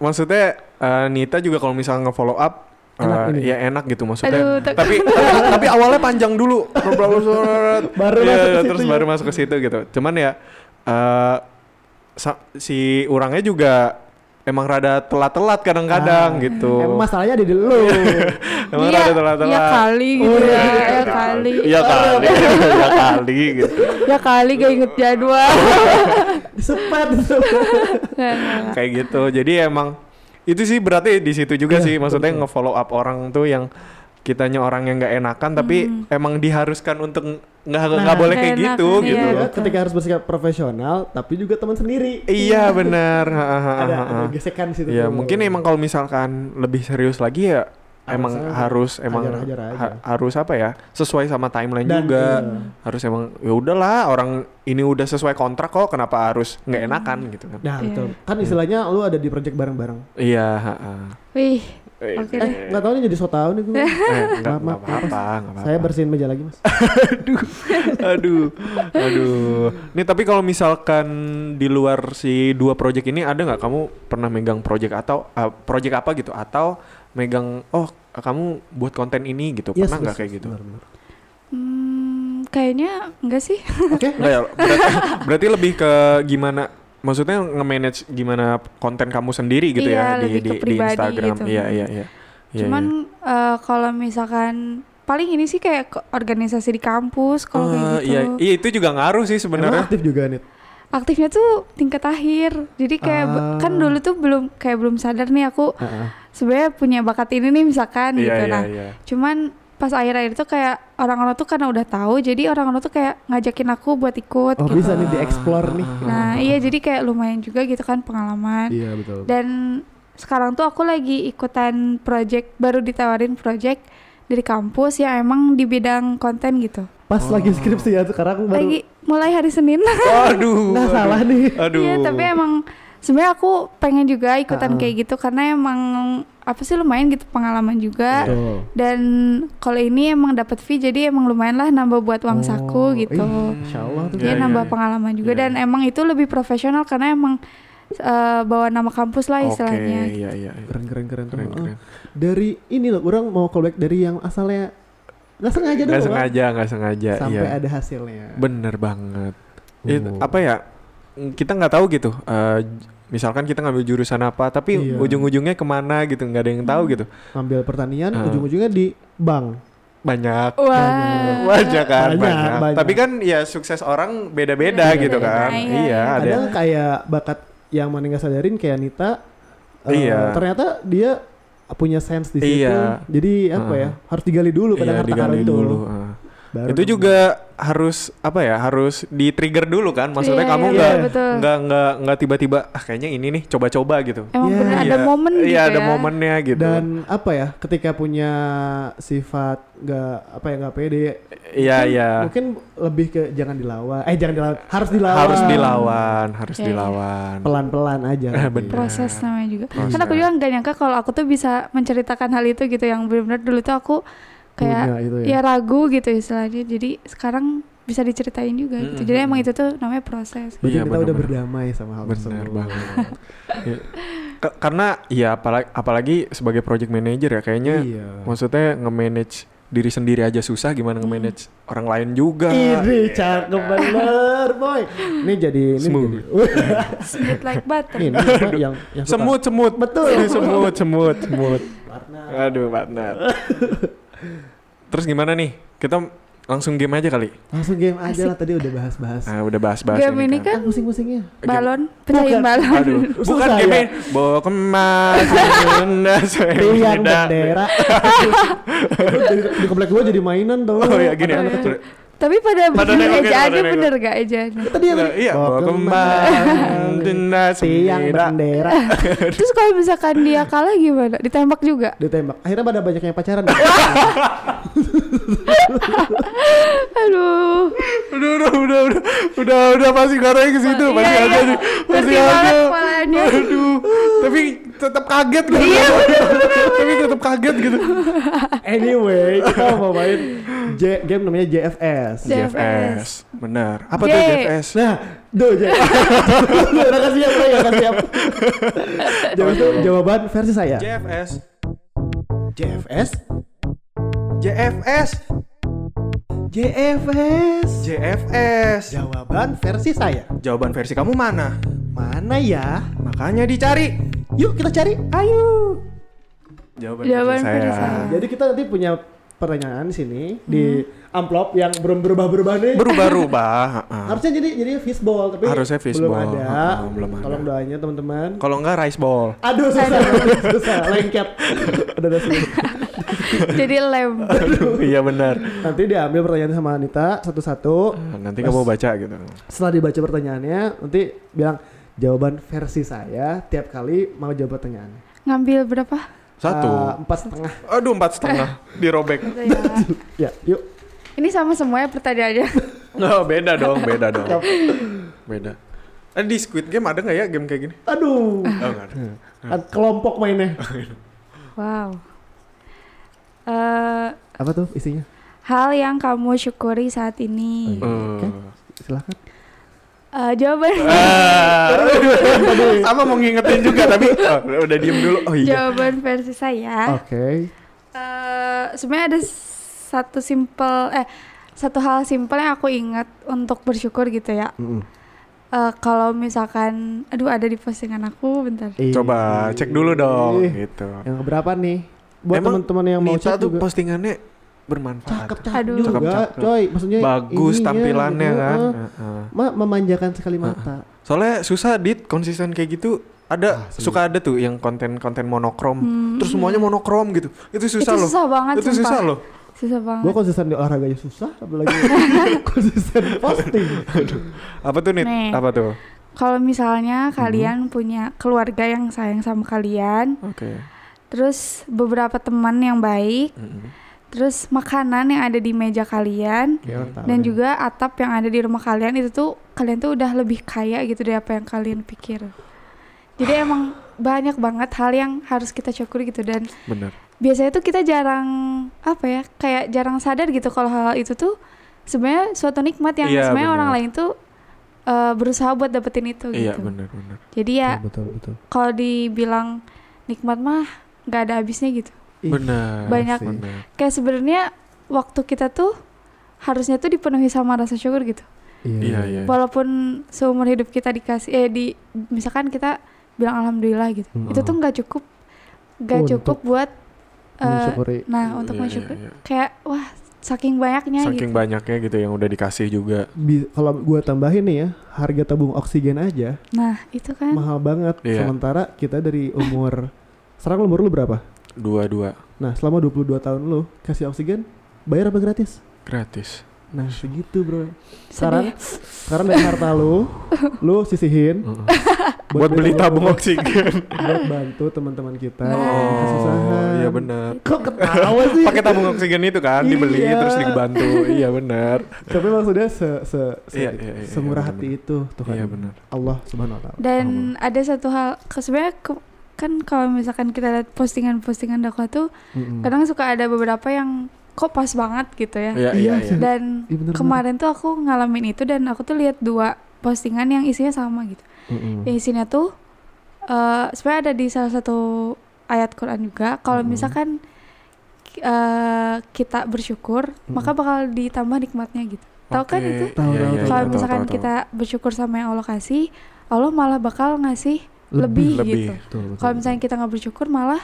maksudnya eh, Nita juga kalau misalnya nge-follow up eh, Enak ini. ya enak gitu maksudnya. Aduh, tak- Tapi tapi- tapi awalnya panjang dulu. Baru Iya, masuk ke terus situ ya. baru masuk ke situ gitu. Cuman ya eh, sa- si orangnya juga emang rada telat-telat kadang-kadang Ah. gitu. Emang masalahnya ada di lu. Emang Iya, rada telat-telat. Iya kali gitu Oh, ya. iya. Iya kali. Iya kali. Iya kali gitu. Ya kali gak inget jadwal. Sepet. sepet. Nggak, nggak, nggak. kayak gitu jadi emang itu sih berarti di situ juga Iya, sih maksudnya betul. nge-follow up orang tuh yang kitanya orang yang nggak enakan tapi Hmm. emang diharuskan untuk nggak nggak Nah, boleh kayak nggak gitu enakan, gitu iya. Iya, loh. betul. ketika harus bersikap profesional tapi juga teman sendiri. iya benar Ha, ha, ha, Ada, ha, ha. ada gesekan di situ. ya tuh. mungkin emang kalau misalkan lebih serius lagi ya Harus emang aja. harus emang Hajar-hajar aja. ha- harus apa ya sesuai sama timeline Dan, juga iya. harus emang ya udahlah orang ini udah sesuai kontrak kok kenapa harus nggak enakan gitu kan Nah, Iya. betul. Kan istilahnya lu ada di project bareng-bareng. iya ha, ha. Wih, Eh, Oke Eh, deh. nggak tahu nih jadi so tau nih gue. Eh, enggak, enggak Maaf, maaf, apa-apa, enggak apa-apa. Saya bersihin meja lagi, Mas. aduh, aduh. Nih tapi kalau misalkan di luar si dua project ini ada nggak kamu pernah megang project atau ah, project apa gitu atau megang oh kamu buat konten ini gitu Yes, pernah nggak yes, kayak yes, gitu? benar, benar. hmm, kayaknya enggak sih. Oke. Nggak ya. Berarti, berarti lebih ke gimana? Maksudnya nge-manage gimana konten kamu sendiri gitu ya di Iya, lebih di, ke di pribadi Instagram? gitu. Iya iya iya. Iya, iya. Cuman eh, kalau misalkan paling ini sih kayak ke- organisasi di kampus kalau kayak Ah, gitu. iya, iya itu juga ngaruh sih Emang sebenarnya. aktif juga nih. aktifnya tuh tingkat akhir jadi kayak be- Ah. kan dulu tuh belum kayak belum sadar nih aku Heeh. sebenarnya punya bakat ini nih misalkan Iya gitu iya nah iya. cuman pas akhir-akhir tuh kayak orang-orang tuh karena udah tahu jadi orang-orang tuh kayak ngajakin aku buat ikut Oh, gitu bisa nih dieksplor nih. Ah, nah iya jadi kayak lumayan juga gitu kan pengalaman Iya, betul. dan sekarang tuh aku lagi ikutan project baru ditawarin project dari kampus yang emang di bidang konten gitu Pas Oh. lagi skripsi ya sekarang aku baru lagi mulai hari Senin Waduh. nggak Nah, salah nih. Aduh. Iya, tapi emang sebenarnya aku pengen juga Ah. ikutan kayak gitu karena emang apa sih lumayan gitu pengalaman juga. Betul. Dan kalau ini emang dapat fee jadi emang lumayan lah nambah buat Oh, uang saku gitu. ih, Insya Allah tuh. Dia Iya, iya, nambah iya. pengalaman juga Iya. dan emang itu lebih profesional karena emang eh, bawa nama kampus lah Oke, istilahnya. Oh. iya iya. iya. Keren keren keren Keren, keren. keren. dari ini loh, orang mau callback dari yang asalnya nggak sengaja nggak doang. sengaja nggak sengaja Sampai iya. ada hasilnya. bener banget It- Oh. apa ya mm, kita nggak tahu gitu eh, j- misalkan kita ngambil jurusan apa tapi Iya. ujung-ujungnya kemana gitu nggak ada yang Hmm. tahu gitu Ngambil pertanian, Ah. ujung-ujungnya di bank. banyak Oh. Wah. banyak kan Banyak, banyak, banyak. tapi kan ya sukses orang beda-beda Beda-beda, gitu kan iya, iya iya. ada Ada kayak bakat yang mana nggak sadarin kayak Nita. eh, Iya. Ternyata dia punya sense di situ. Iya. Jadi Ah. apa ya? Harus digali dulu iya, kadang harta karun digali itu. dulu ah. Baru itu juga harus apa ya harus di trigger dulu kan maksudnya Iya, kamu iya, nggak betul, betul. nggak nggak nggak tiba-tiba ah kayaknya ini nih coba-coba gitu Emang Iya. bener ada Iya, momen gitu iya ya. ada momennya gitu dan apa ya ketika punya sifat nggak apa ya nggak pede iya iya mungkin lebih ke jangan dilawan eh jangan dilawan harus dilawan harus dilawan harus Iya, iya. dilawan pelan-pelan aja Eh, nanti. bener. proses namanya juga. Proses. Karena aku juga nggak nyangka kalau aku tuh bisa menceritakan hal itu gitu yang benar-benar dulu tuh aku Punya kayak itu ya. ya. ragu gitu istilahnya. Jadi sekarang bisa diceritain juga Mm-mm. gitu. Jadi emang itu tuh namanya proses. Berarti Iya, kita udah bener-bener. berdamai sama hal tersebut Bener banget. Iya. Ka- karena ya apalagi, apalagi sebagai project manager ya kayaknya Iya. maksudnya nge-manage diri sendiri aja susah gimana Iya. nge-manage orang lain juga. Ini cakep bener boy. Ini jadi ini Smooth. jadi- Smooth like butter. ini apa yang yang suka Semut semut. Betul. Ini semut semut semut. warna. Aduh, partner. Terus gimana nih? Kita langsung game aja kali. Langsung game aja lah tadi udah bahas-bahas. Ah, udah bahas-bahas Game ini Ah, kan pusing-pusingnya. balon, pecahin Bukan. balon. Aduh, bukan Susah game ya? ini. Bawa kemas, indah, Iya, Tiang indah. bendera. Jadi- ya, di komplek gua jadi mainan tuh. Oh ya gini. Oh, iya. ya. Tapi pada, Pada bener nengokin, ejaannya pada nengok. bener gak ejaannya? Tadi yang Nah, iya, bawa kembang, denda tiang sendiri. bendera Terus kalau misalkan dia kalah gimana? Ditembak juga? ditembak. Akhirnya pada banyak yang pacaran. Aduh. Udah, udah, udah, udah, udah, udah pasti ngarahnya ke situ, Iya, pasti iya. ada nih, pasti Ngerti ada. banget kepalanya. Aduh, tapi tetap kaget gitu. Iya, tapi tetap kaget gitu. anyway, kita mau main J- game namanya JFS. J- JFS. benar. Apa tuh J. JFS? Nah, duh JFS. Udah kasih siap, saya kasih siap. Jawab itu jawaban versi saya. JFS, JFS, JFS, JFS. JFS. Jawaban versi saya. Ya, Jawaban versi kamu mana? Mana ya? Makanya dicari. Yuk kita cari. Ayo. Jawaban, Jawaban versi saya. Jadi kita nanti punya pertanyaan di sini di Hmm. amplop yang belum berubah-berubah nih. Berubah-ubah. heeh. Harusnya jadi jadi fishball tapi Harusnya fishball. belum ada. Ah, belum ada. Tolong doanya teman-teman. Kalau enggak rice ball. Aduh susah, susah, lengket. Udah ada sini. Jadi lem. Aduh, iya benar. Nanti diambil pertanyaan sama Anita satu-satu. Nah, Nanti kamu baca gitu. Setelah dibaca pertanyaannya, nanti bilang jawaban versi saya tiap kali mau jawab pertanyaan. Ngambil berapa? Satu. Eh, empat setengah. Aduh empat setengah Ah. dirobek. Ya. Ya, yuk. Ini sama semuanya pertanyaannya. Oh, beda dong, beda dong. beda. Eh, di Squid Game ada nggak ya game kayak gini? Oh, Aduh, nggak ada. kan kelompok mainnya. Wow. Eh, Apa tuh isinya? hal yang kamu syukuri saat ini. Eh. Silahkan. Eh, jawaban Ah. Sama mau ngingetin juga tapi oh, udah diem dulu. Oh iya. Oh. jawaban versi saya. Oke. Eh, sebenarnya ada satu simple eh satu hal simple yang aku ingat untuk bersyukur gitu ya. Mm-mm. Eh, kalau misalkan aduh ada di postingan aku bentar. Ih. Coba cek dulu dong gitu. Yang keberapa nih? Buat Emang teman-teman yang mau Nita cek tuh juga. postingannya bermanfaat. Cakep, Aduh. juga, Cakep-cakep. coy. Maksudnya Bagus ininya tampilannya gitu, kan. eh. Heeh. Ma- memanjakan sekali mata. Soalnya susah dit konsisten kayak gitu. Ada Ah, serius. suka ada tuh yang konten-konten monokrom. Terus semuanya monokrom gitu. Itu susah Hmm. Itu loh. susah banget, Itu sumpah. susah loh. Susah Gue banget. konsisten di olahraga aja susah, apalagi konsisten posting. Apa tuh Nit? Nih. Apa tuh? Kalau misalnya Mm-hmm. kalian punya keluarga yang sayang sama kalian, Oke. terus beberapa teman yang baik, Mm-mm. terus makanan yang ada di meja kalian, Ah, Ya, orang tahu dan deh. juga atap yang ada di rumah kalian itu tuh kalian tuh udah lebih kaya gitu dari apa yang kalian pikir. Jadi emang banyak banget hal yang harus kita syukuri gitu dan Bener. biasanya tuh kita jarang apa ya kayak jarang sadar gitu kalau hal itu tuh sebenarnya suatu nikmat yang Iya, sebenarnya orang benar. lain tuh eh, berusaha buat dapetin itu Iya gitu. bener bener. Jadi ya betul betul. kalau dibilang nikmat mah nggak ada habisnya gitu. Ih, Bener. Banyak. sih. Bener. Kayak sebenarnya waktu kita tuh harusnya tuh dipenuhi sama rasa syukur gitu. Iya iya. Walaupun seumur hidup kita dikasih eh di misalkan kita bilang alhamdulillah gitu. Mm-mm. Itu tuh nggak cukup nggak Untuk cukup buat eh, mensyukuri. nah untuk Iya, iya, mensyukuri iya. kayak wah saking banyaknya Saking gitu. banyaknya gitu yang udah dikasih juga. Bi- kalau gua tambahin nih ya, harga tabung oksigen aja Nah, itu kan mahal banget. Iya. Sementara kita dari umur sekarang umur lu berapa? Dua dua. Nah, selama 22 tahun lu kasih oksigen bayar apa gratis? Gratis. Nah, segitu, Bro. Sekarang Sedih. ya. Eh, sekarang dari harta lu, lu sisihin Mm-mm. buat Buat beli beli tabung oksigen. buat bantu teman-teman kita yang Oh, kesusahan. iya benar. Kok ketawa sih? Pakai tabung oksigen itu kan dibeli Iya. terus dibantu. iya benar. Tapi maksudnya se se, se- Iya, iya, iya, semurah iya, hati bener. itu Tuhan. Iya benar. Allah Subhanahu wa taala. Dan ada satu hal, ke- sebenarnya ke- kan kalau misalkan kita lihat postingan-postingan dakwah tuh Hmm. Mm-mm. Iya, kadang suka ada beberapa yang kok pas banget gitu Iya, ya. Iya, iya, iya. sih. Dan Iya, bener-bener. kemarin tuh aku ngalamin itu dan aku tuh lihat dua postingan yang isinya sama gitu. Mm-mm. Yang isinya tuh eh sebenarnya ada di salah satu ayat Quran juga kalau misalkan eh, kita bersyukur maka bakal ditambah nikmatnya gitu. Tahu kan Oke. itu? Iya, Tahu, tahu, iya, tahu. iya, kalau tahu, misalkan tahu, tahu. kita bersyukur sama yang Allah kasih, Allah malah bakal ngasih lebih, Lebih. gitu. Betul, betul, Kalau betul. misalnya kita nggak bersyukur, malah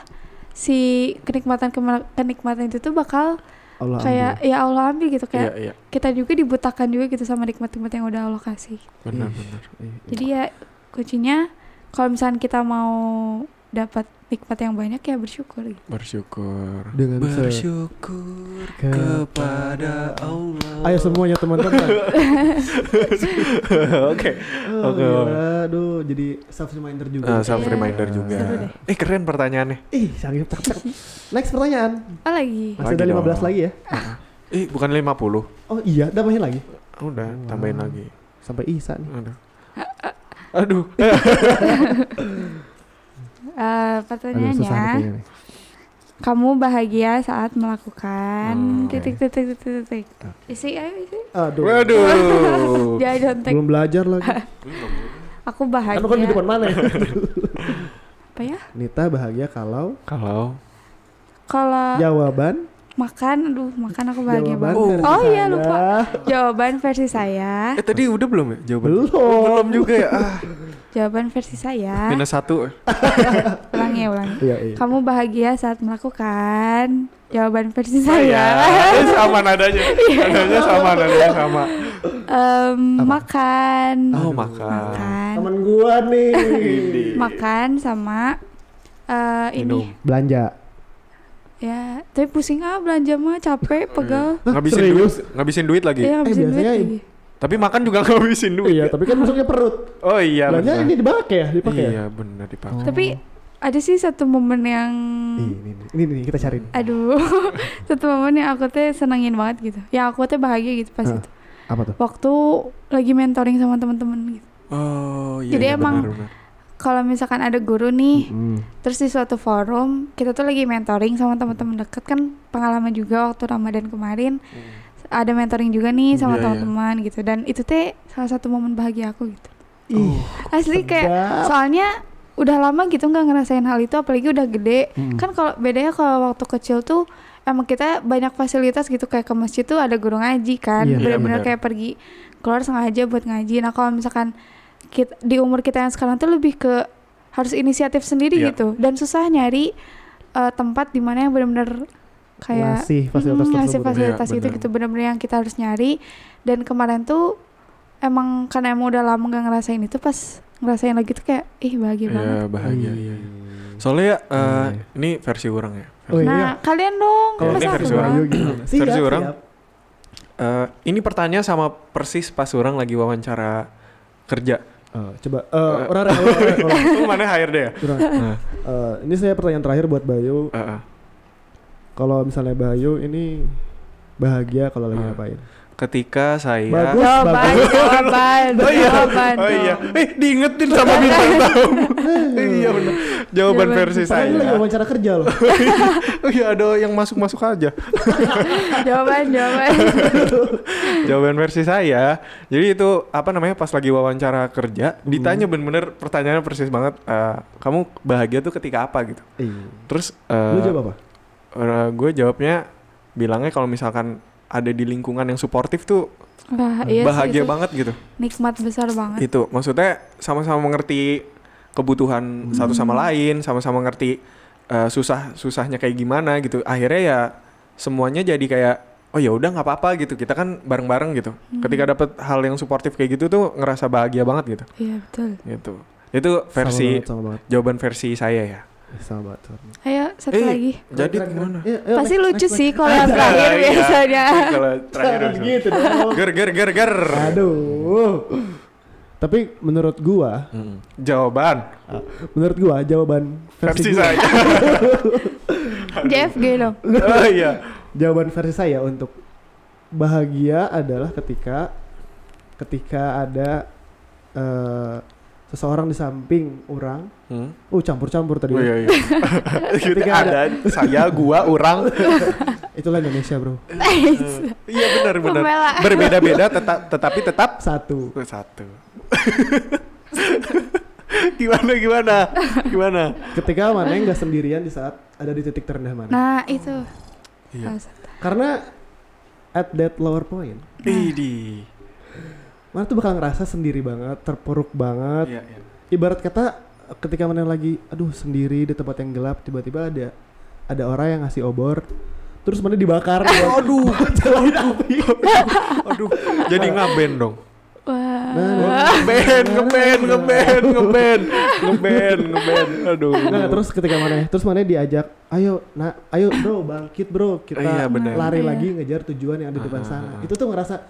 si kenikmatan kema- kenikmatan itu tuh bakal Allah kayak ya Allah ambil gitu Iya, kayak iya. kita juga dibutakan juga gitu sama nikmat-nikmat yang udah Allah kasih. Benar, benar. Iya. Jadi ya kuncinya kalau misalnya kita mau dapat nikmat yang banyak ya bersyukur. Gitu. Bersyukur. Dengan se- Bersyukur Ke- kepada Allah. Ayo semuanya teman-teman. Oke. Oh, Oke. gila. Aduh, jadi self reminder juga. Ah, self Iya. reminder juga. Seru deh. Eh keren pertanyaannya. Ih, sangat cakep, cakep. Next pertanyaan. Oh lagi. Masih ada Lagi 15 dong. lagi ya? Ih, bukan 50. Oh iya, tambahin lagi. Udah, Wow. tambahin lagi. Sampai Isa nih. Aduh. Aduh. Eh, pertanyaannya, nih. kamu bahagia saat melakukan Hmm. titik titik titik titik. Isi ayo isi. Aduh. Waduh. Jangan nyontek. Belum belajar lagi. Aku bahagia. kan kan di depan mana ya? Apa ya? Nita bahagia kalau Kalau Kalau jawaban makan, aduh makan aku Ah. bahagia jawaban banget. versi Oh iya saya. lupa. Jawaban versi saya. eh tadi udah belum ya jawaban? Belum. Oh, belum juga ya. Ah, Jawaban versi saya. minus satu. Ulangi ya ulangi. Iya, iya. Kamu bahagia saat melakukan jawaban versi saya. Iya, sama nadanya. Iya. Nadanya sama, nadanya sama. Em, makan. Oh, Aduh. makan. Makan. Temen gua nih. Ini. Makan sama eh, Minum. ini Belanja. ya tapi pusing ah belanja mah capek pegel Ngabisin duit, serius? ngabisin duit lagi. ya ngabisin duit Hmm. Iya. Eh, biasanya- lagi Tapi makan juga ngabisin duit. ya? Iya, tapi kan masuknya perut. Oh iya. Belanja benar. ini dipakai ya, dipakai ya. Iya, benar dipakai. tapi ada sih satu momen yang Ih, Ini, ini, ini, ini kita cari. nih. aduh satu momen yang aku teh senengin banget gitu yang aku teh bahagia gitu pas Hah. itu Ah, Apa tuh? waktu lagi mentoring sama temen-temen gitu Oh, iya. Jadi iya, emang- benar, benar. kalau misalkan ada guru nih Hmm. terus di suatu forum kita tuh lagi mentoring sama teman-teman deket kan pengalaman juga waktu ramadan kemarin ada mentoring juga nih Iya, sama iya. teman-teman gitu dan itu teh salah satu momen bahagia aku gitu Oh, Ih, asli kayak sedap. soalnya udah lama gitu nggak ngerasain hal itu apalagi udah gede kan kalau bedanya kalau waktu kecil tuh emang kita banyak fasilitas gitu kayak ke masjid tuh ada guru ngaji kan Iya. Iya, benar. bener-bener kayak pergi keluar sengaja buat ngaji nah kalau misalkan kit- di umur kita yang sekarang tuh lebih ke harus inisiatif sendiri Iya. gitu dan susah nyari eh, tempat di mana yang benar-benar kayak Ngasih fasilitas Mm, ngasih tersebut. fasilitas Iya, itu benar. gitu bener-bener yang kita harus nyari dan kemarin tuh emang karena emang udah lama gak ngerasain itu pas ngerasain lagi tuh kayak ih bahagia Iya, banget bahagia. Iya. Soalnya eh, Iya, iya. ini versi orang ya. Oh iya. nah kalian dong Kalau masa ini aku versi orang doang? Versi orang. Eh, ini pertanyaan sama persis pas orang lagi wawancara kerja. Eh, coba eh, orang orang orang, orang, Itu mana HRD ya? orang. Nah, Eh, ini saya pertanyaan terakhir buat Bayu. eh, eh. Kalau misalnya Bayu ini bahagia kalau lagi Ah. ngapain? Ketika saya Bagus. jawaban Bagus. jawaban Oh iya. jawaban Oh iya. dong. Eh, diingetin sama bintang tamu. iya benar. Jawaban Jawaban versi bintang Saya lagi saya. wawancara kerja loh. Oh iya, ada yang masuk-masuk aja. jawaban jawaban Jawaban versi saya. Jadi itu apa namanya pas lagi wawancara kerja, Hmm. ditanya bener-bener pertanyaannya persis banget. eh, kamu bahagia tuh ketika apa gitu? Iya. Terus Lu eh, jawab apa? Eh, gue jawabnya bilangnya kalau misalkan ada di lingkungan yang suportif tuh Bah, iya sih, bahagia itu banget gitu. nikmat besar banget Itu maksudnya sama-sama mengerti kebutuhan satu Hmm. sama lain, sama-sama ngerti eh, susah susahnya kayak gimana gitu. Akhirnya ya semuanya jadi kayak oh ya udah nggak apa-apa gitu. Kita kan bareng-bareng gitu. Hmm. Ketika dapet hal yang suportif kayak gitu tuh ngerasa bahagia banget gitu. iya betul Gitu. Itu versi sama banget, sama banget. jawaban versi saya ya. Sama banget. Ayo satu Eh, lagi. Jadi gimana? Iya, iya, Pasti next, lucu next, sih kalau yang terakhir Iya. biasanya. Kalau next. terakhir Jangan harus- gitu dong. Ger ger ger ger. Aduh. Tapi menurut gua, Mm. Jawaban menurut gua jawaban versi, versi gua, saya. JFG dong. oh iya. jawaban versi saya untuk bahagia adalah ketika ketika ada eh, seseorang di samping orang, Hmm? uh campur-campur tadi. Oh iya iya. Gitu, Ketika ada- ada saya, gua, orang. Itulah Indonesia, Bro. Iya benar benar. Pembela. Berbeda-beda tetap tetapi tetap Satu. satu. gimana gimana? Gimana? Ketika Maneng nggak sendirian di saat ada di titik terendah Maneng. Nah itu. Iya. Salah satu. Karena at that lower point, Idi. Mana tuh bakal ngerasa sendiri banget, terpuruk banget. Iya iya. Ibarat kata ketika mana lagi, aduh sendiri di tempat yang gelap, tiba-tiba ada ada orang yang ngasih obor, terus mana dibakar. Oh, aduh, jalanin api. Aduh, jadi ngaben dong. Wah. Ngeband, ngeband, ngeband, ngeband, ngeband, ngeband. Aduh. Nah, terus ketika mana? Terus mana diajak, ayo, nah, ayo bro, bangkit bro, kita Iya, bener. lari Iya. lagi ngejar tujuan yang ada di depan sana. Itu tuh ngerasa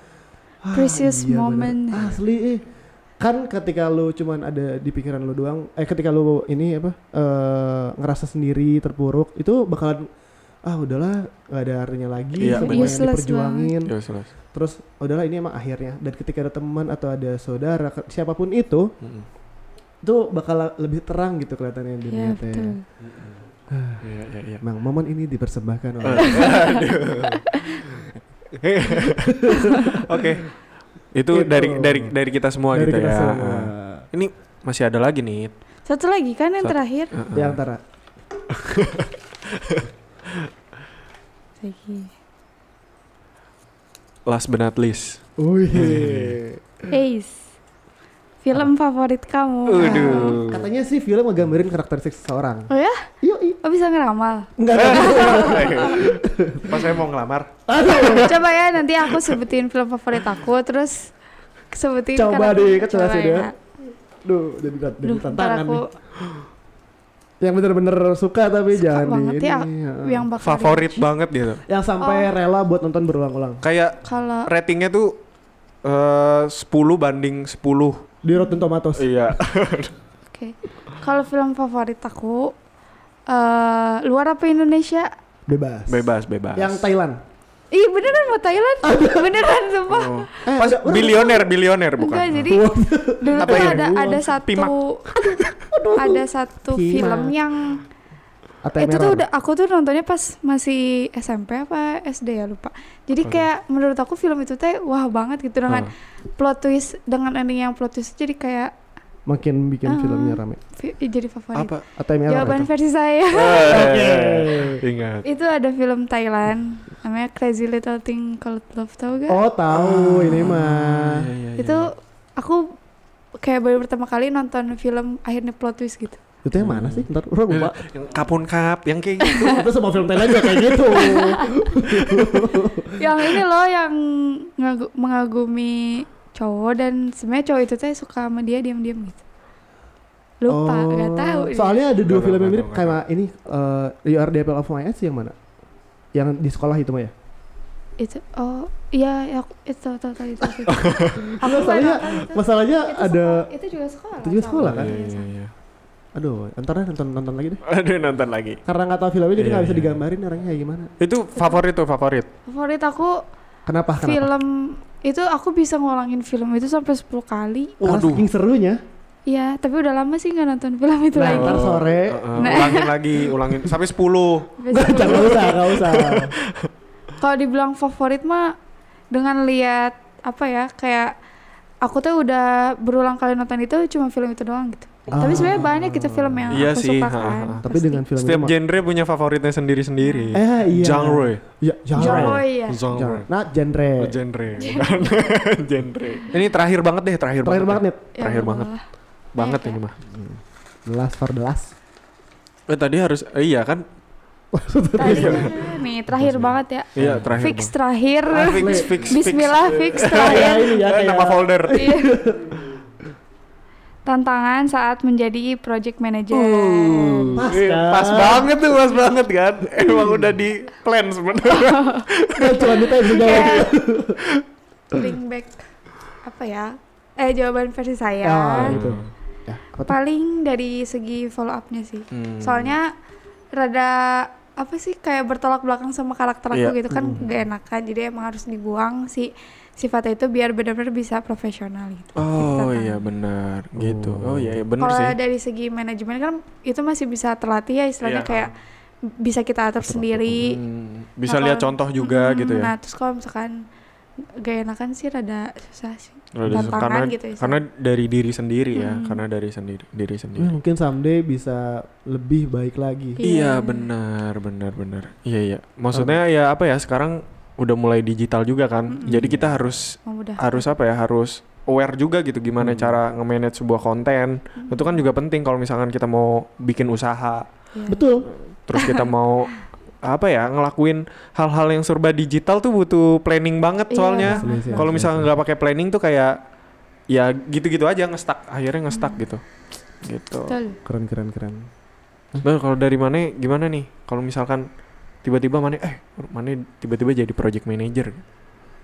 "Ah, Precious iya bener. moment. Asli, eh. kan ketika lu cuman ada di pikiran lu doang, eh ketika lu ini apa eh, ngerasa sendiri terpuruk, itu bakalan ah udahlah nggak ada artinya lagi Iya, sama bener. yang Useless diperjuangin Ya, jelas. terus udahlah ini emang akhirnya dan ketika ada teman atau ada saudara ke- siapapun itu Mm-mm. itu bakal lebih terang gitu kelihatannya Iya dunia teh betul. Iya, iya, iya. Emang momen ini dipersembahkan oleh Eh, Oke. Itu Gitu. dari dari dari kita semua dari gitu kita ya. semua. Ini masih ada lagi nih. Satu lagi kan yang Satu. terakhir. Di iya. antara Lagi. Last but not least. Hmm. Wih. Ace. Film favorit kamu. Iya. Aduh. Katanya sih film ngegambarin karakteristik seseorang. Iya, Oh ya? Yoi. Oh bisa ngeramal. Enggak ada. Pas saya mau ngelamar. Coba ya nanti aku sebutin film favorit aku terus sebutin Coba karakter- deh, kan jelas Coba ya. ya. Duh, jadi, jadi Duh, ntar tantangan aku nih. Yang bener-bener suka tapi suka jangan banget di ya ini, heeh. yang bakal Favorit banget gitu. Yang sampai Oh. rela buat nonton berulang-ulang. Kayak Kalau ratingnya tuh eh 10 banding 10. Di Rotten Tomatoes. Iya. oke. Kalau film favorit aku eh luar apa Indonesia? Bebas. Bebas, bebas. Yang Thailand. Ih beneran mau Thailand? beneran sumpah. Oh. Eh, Pas ada- bilioner, bilioner Enggak bukan. jadi dulu Apa tuh ya? ada ada satu Pimak. ada satu Pimak. film yang ATM itu tuh error. udah aku tuh nontonnya pas masih SMP apa SD ya lupa. Jadi kayak menurut aku film itu teh wah banget gitu dengan plot twist dengan ending yang plot twist jadi kayak makin bikin Ah. filmnya rame. fi- jadi favorit. Apa? ATM error. Jawaban itu. versi saya. Eh, Ingat. itu ada film Thailand namanya Crazy Little Thing Called Love tau gak? Oh, tahu ini mah. Iya, iya, iya. itu aku kayak baru pertama kali nonton film akhirnya plot twist gitu. Itu yang mana sih? Ntar orang lupa. yang kapun kap, yang kayak gitu. itu semua film Thailand juga kayak gitu. yang ini loh yang ngagu- mengagumi cowok dan sebenarnya cowok itu teh suka sama dia diam-diam gitu. Lupa, nggak tahu. ini. Oh. Soalnya ada dua Nggak tahu, film yang nggak mirip tahu, kayak ini eh You Are the Apple of My Eye sih yang mana? Yang di sekolah itu mah ya. itu oh iya ya aku itu tahu tahu itu. itu. aku Enggak, nggak soalnya nonton itu. masalahnya Itu ada sekolah- itu juga sekolah. itu juga sama. sekolah, kan? Iya, Iya, iya, sama. iya. aduh, antara nonton nonton lagi deh. Aduh nonton lagi. Karena nggak tahu filmnya jadi Iya, nggak bisa iya. digambarin orangnya kayak gimana. Itu favorit tuh favorit. Favorit aku iya. Ah, Kenapa? Kenapa? film itu aku bisa ngulangin film itu sampai 10 kali. Karena Waduh. saking serunya. Iya, tapi udah lama sih nggak nonton film itu Nah, lagi. ntar sore. Eh, eh, ulangin lagi, ulangin sampai 10. Nggak, jangan usah, nggak usah. Kalau dibilang favorit mah dengan lihat apa ya kayak aku tuh udah berulang kali nonton itu cuma film itu doang gitu. Tapi sebenarnya banyak gitu film yang Iya aku sih, suka ha, ha, kan. ha. Ah. Tapi pasti. dengan film Setiap itu mah- genre punya favoritnya sendiri-sendiri. gitu, Eh, iya. Genre. Ya, genre. Genre ya. Genre. Genre. Nah, genre. Oh, genre. Bukan genre. Ini terakhir banget deh, terakhir, Terakhir banget banget. nih. Ya Terakhir banget. Allah. ya. Banget Iya, ini mah. The last for the last. Eh tadi harus eh, iya kan? Terakhir. Nih terakhir banget ya. Iya, terakhir. Fix terakhir. banget. Ah, fix, Eh, fix, Iya, fix. Bismillah fix Kayak Iya, terakhir. ini ya, Eh, kayak- nama folder. Iya. Tantangan saat menjadi project manager. Uh, Pas eh, kan? pas banget tuh, pas banget kan. Emang udah di plan sebenarnya. Kan cuma ditanya juga. Kayak bring back apa ya? Eh jawaban versi saya. Iya. Ah, gitu. Ya, apa tuh? Paling dari segi follow up-nya sih. Hmm. Soalnya rada apa sih kayak bertolak belakang sama karakter Iya. aku gitu kan gak enak kan. Jadi emang harus dibuang si sifatnya itu biar benar-benar bisa profesional gitu. Oh Tantangan. iya benar gitu. Oh iya iya benar Kalau sih. dari segi manajemen kan itu masih bisa terlatih ya istilahnya Iya. kayak bisa kita atur sendiri. Hmm, bisa Nah, lihat kalau- contoh juga Mm-mm. gitu ya. Nah terus kalau misalkan gak enakan sih rada susah sih. Rada susah, tantangan karena gitu ya. karena dari diri sendiri ya, Hmm. karena dari sendiri diri sendiri. Ya, mungkin someday bisa lebih baik lagi. Iya. Iya benar benar benar. Iya iya. Maksudnya ya apa ya sekarang udah mulai digital juga Hmm. kan. Jadi kita harus Mudah. harus apa ya harus aware juga gitu gimana cara nge-manage sebuah konten. Hmm. Itu kan juga penting kalau misalkan kita mau bikin usaha, Iya. Betul. terus kita mau apa ya ngelakuin hal-hal yang serba digital tuh butuh planning banget Iya, soalnya. Asli sih, Kalau asli misalnya sih. nggak pakai planning tuh kayak ya gitu-gitu aja ngestak akhirnya ngestak gitu. Gitu. Betul. keren keren keren. Bang, kalau dari mana gimana nih? Kalau misalkan tiba-tiba mana eh mana tiba-tiba jadi project manager.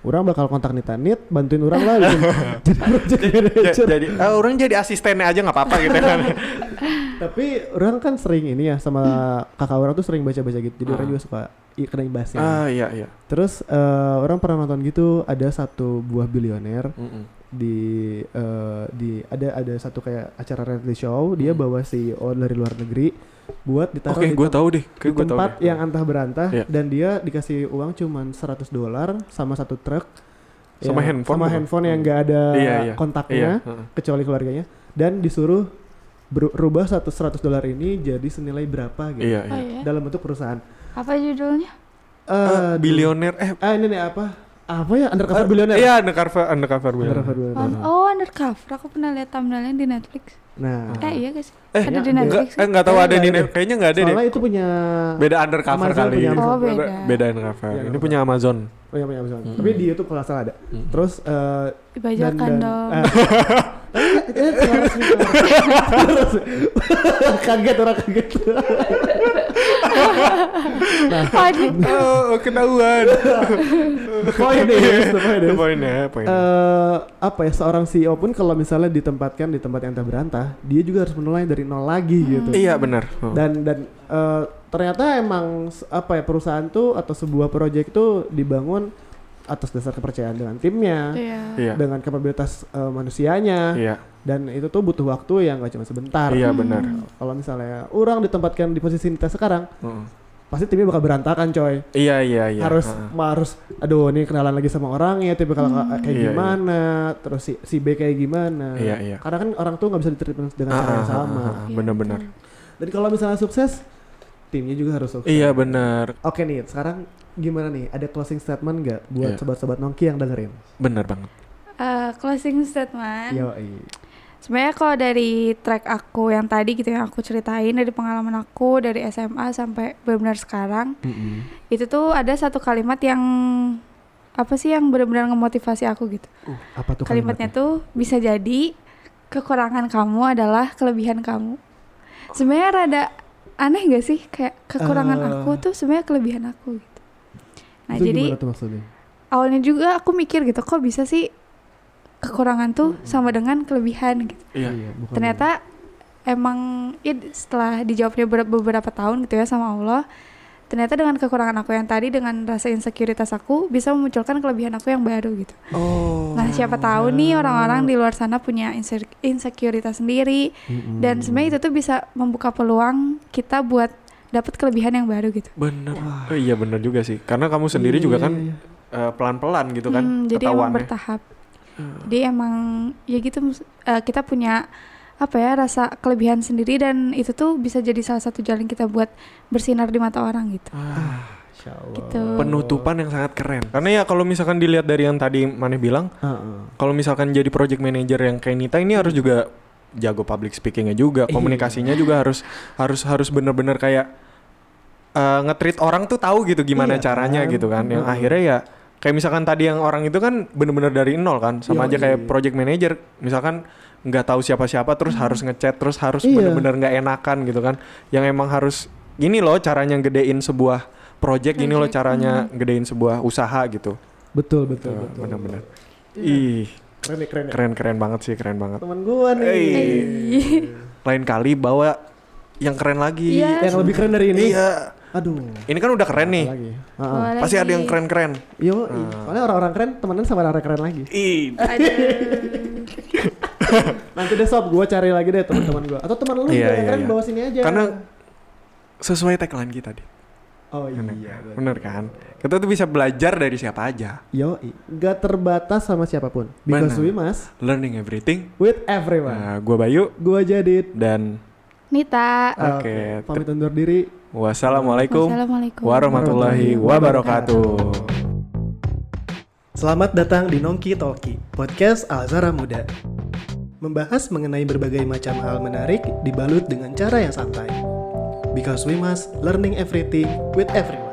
Orang bakal kontak Nita Nit, bantuin orang lah gitu. jadi project manager. jadi ah, orang jadi asistennya aja nggak apa-apa gitu kan. Tapi orang kan sering ini ya sama kakak orang tuh sering baca-baca gitu. Jadi Hmm. Ah. orang juga suka i- kena imbasnya. ah iya iya. Terus eh, orang pernah nonton gitu ada satu buah bilioner Mm-mm. di eh, di ada ada satu kayak acara reality show dia bawa CEO dari luar negeri buat ditaruh Hmm. Oke, di, gue tem- tahu deh. di Kayak gue tahu. tempat deh. yang antah berantah Iya. dan dia dikasih uang cuman 100 dolar sama satu truk Ya, Sama handphone sama bukan? handphone yang Hmm. gak ada Iya, iya. kontaknya Iya, heeh. kecuali keluarganya dan disuruh berubah 100 100 dolar ini jadi senilai berapa gitu Iya, Oh iya. iya. dalam bentuk perusahaan Apa judulnya? Ah, Eh, Bilioner eh ah ini nih apa apa ya undercover eh, billionaire Iya, undercover undercover undercover billionaire. billionaire Wan- Oh, undercover. Aku pernah lihat thumbnailnya di Netflix. nah Eh iya guys. Eh, iya. ada di Enggak, Netflix. kan? eh, nggak tahu Kayaknya ada nggak di ada. net- kayaknya nggak ada deh. soalnya itu punya Beda undercover Amazon kali. punya Amazon. Oh, beda. Beda undercover. Iya, Ini nggak punya Amazon. Oh iya punya Amazon. Mm. Tapi di YouTube kalau nggak salah ada. Mm. Terus eh dan Dibajakan dan dong. Ah. eh, eh, eh, terlalu resmi, terlalu resmi. kaget orang kaget. Waduh. Oh, ketahuan. The point is, the point is. Poinnya, poinnya. Iya. eh, apa ya seorang CEO pun kalau misalnya ditempatkan di tempat yang tak berantah, dia juga harus mulai dari nol lagi gitu. Iya, benar. Oh. Dan dan eh, ternyata emang s- apa ya perusahaan tuh atau sebuah proyek tuh dibangun atas dasar kepercayaan dengan timnya, Iya. Iya. dengan kapabilitas eh, manusianya. Iya. dan itu tuh butuh waktu yang gak cuma sebentar. Iya, benar. Kalau misalnya orang ditempatkan di posisi Nita sekarang, Heeh. pasti timnya bakal berantakan, Oh. coy. Iya iya iya. harus Heeh. ma- harus aduh ini kenalan lagi sama orang ya tipe kalau Hmm. Iya, kayak iya. gimana, terus si, si B kayak gimana. Iya, iya. Karena kan orang tuh nggak bisa ditreatment dengan cara Ah, yang ah, sama. ah, Iya. ah, Benar-benar. Dan kalau misalnya sukses, timnya juga harus sukses. Iya benar. Oke nih, sekarang gimana nih? Ada closing statement nggak Iya. buat sobat-sobat Nongki yang dengerin? Benar banget. Eh, closing statement. Yo, Sebenarnya kalau dari track aku yang tadi gitu yang aku ceritain dari pengalaman aku dari SMA sampai benar-benar sekarang itu tuh ada satu kalimat yang apa sih yang benar-benar ngemotivasi aku gitu. apa tuh Kalimatnya tuh bisa jadi kekurangan kamu adalah kelebihan kamu. Sebenarnya rada aneh gak sih kayak kekurangan Eh. aku tuh sebenarnya kelebihan aku gitu. Nah, Itu jadi gimana tuh maksudnya? awalnya juga aku mikir gitu kok bisa sih kekurangan tuh Hmm. sama dengan kelebihan gitu Iya. bukan- ternyata emang ya, setelah dijawabnya ber- beberapa tahun gitu ya sama Allah ternyata dengan kekurangan aku yang tadi dengan rasa insekuritas aku bisa memunculkan kelebihan aku yang baru gitu Oh. nah siapa tahu nih orang-orang di luar sana punya inse- insekuritas sendiri Hmm. Mm-mm. dan sebenarnya itu tuh bisa membuka peluang kita buat dapat kelebihan yang baru gitu Benar. Oh, iya benar juga sih. Karena kamu sendiri Iya, juga iya, kan iya. eh, pelan-pelan gitu kan Hmm. Hmm, jadi emang ketahuannya. bertahap jadi emang ya gitu mus- eh, kita punya apa ya rasa kelebihan sendiri dan itu tuh bisa jadi salah satu jalan kita buat bersinar di mata orang gitu Ah, Insya Allah. gitu penutupan yang sangat keren. Karena ya kalau misalkan dilihat dari yang tadi Maneh bilang, Heeh. kalau misalkan jadi project manager yang kayak Nita ini harus juga jago public speakingnya juga, Iya. komunikasinya juga harus harus harus bener-bener kayak eh, nge-treat orang tuh tahu gitu gimana Iya caranya kan? gitu kan, yang Mm-mm. akhirnya ya kayak misalkan tadi yang orang itu kan bener-bener dari nol kan sama Iya, aja kayak iya. project manager misalkan nggak tahu siapa-siapa terus harus ngechat terus harus Iya. bener-bener nggak enakan gitu kan yang emang harus gini loh caranya gedein sebuah project gini loh Project, caranya gedein sebuah usaha gitu betul betul Tuh, betul Iya. bener-bener ih keren ya, keren ya. keren keren banget sih keren banget teman gua nih Hey. Ih. lain kali bawa yang keren lagi Iya. yang lebih keren dari ini iya aduh ini kan udah keren nih apa lagi Ah, ah. Boleh pasti ada sih. yang keren-keren yo i. Ah. soalnya orang-orang keren temenan sama orang-orang keren lagi ih nanti deh sob gua cari lagi deh teman-teman gua atau teman lu Iya, juga yang iya, keren iya. bawa sini aja Karena- sesuai tagline kita deh oh iya Bener kan? Kita tuh bisa belajar dari siapa aja. yo i. gak terbatas sama siapapun because Benar. we must Learning everything. with everyone Nah, gua Bayu gua jadi dan Nita. Ah, Oke. pamit undur diri wassalamualaikum Wassalamualaikum. warahmatullahi wabarakatuh. Selamat datang di Nongki Talki, podcast Alzara Muda. Membahas mengenai berbagai macam hal menarik dibalut dengan cara yang santai. Because we must learning everything with everyone.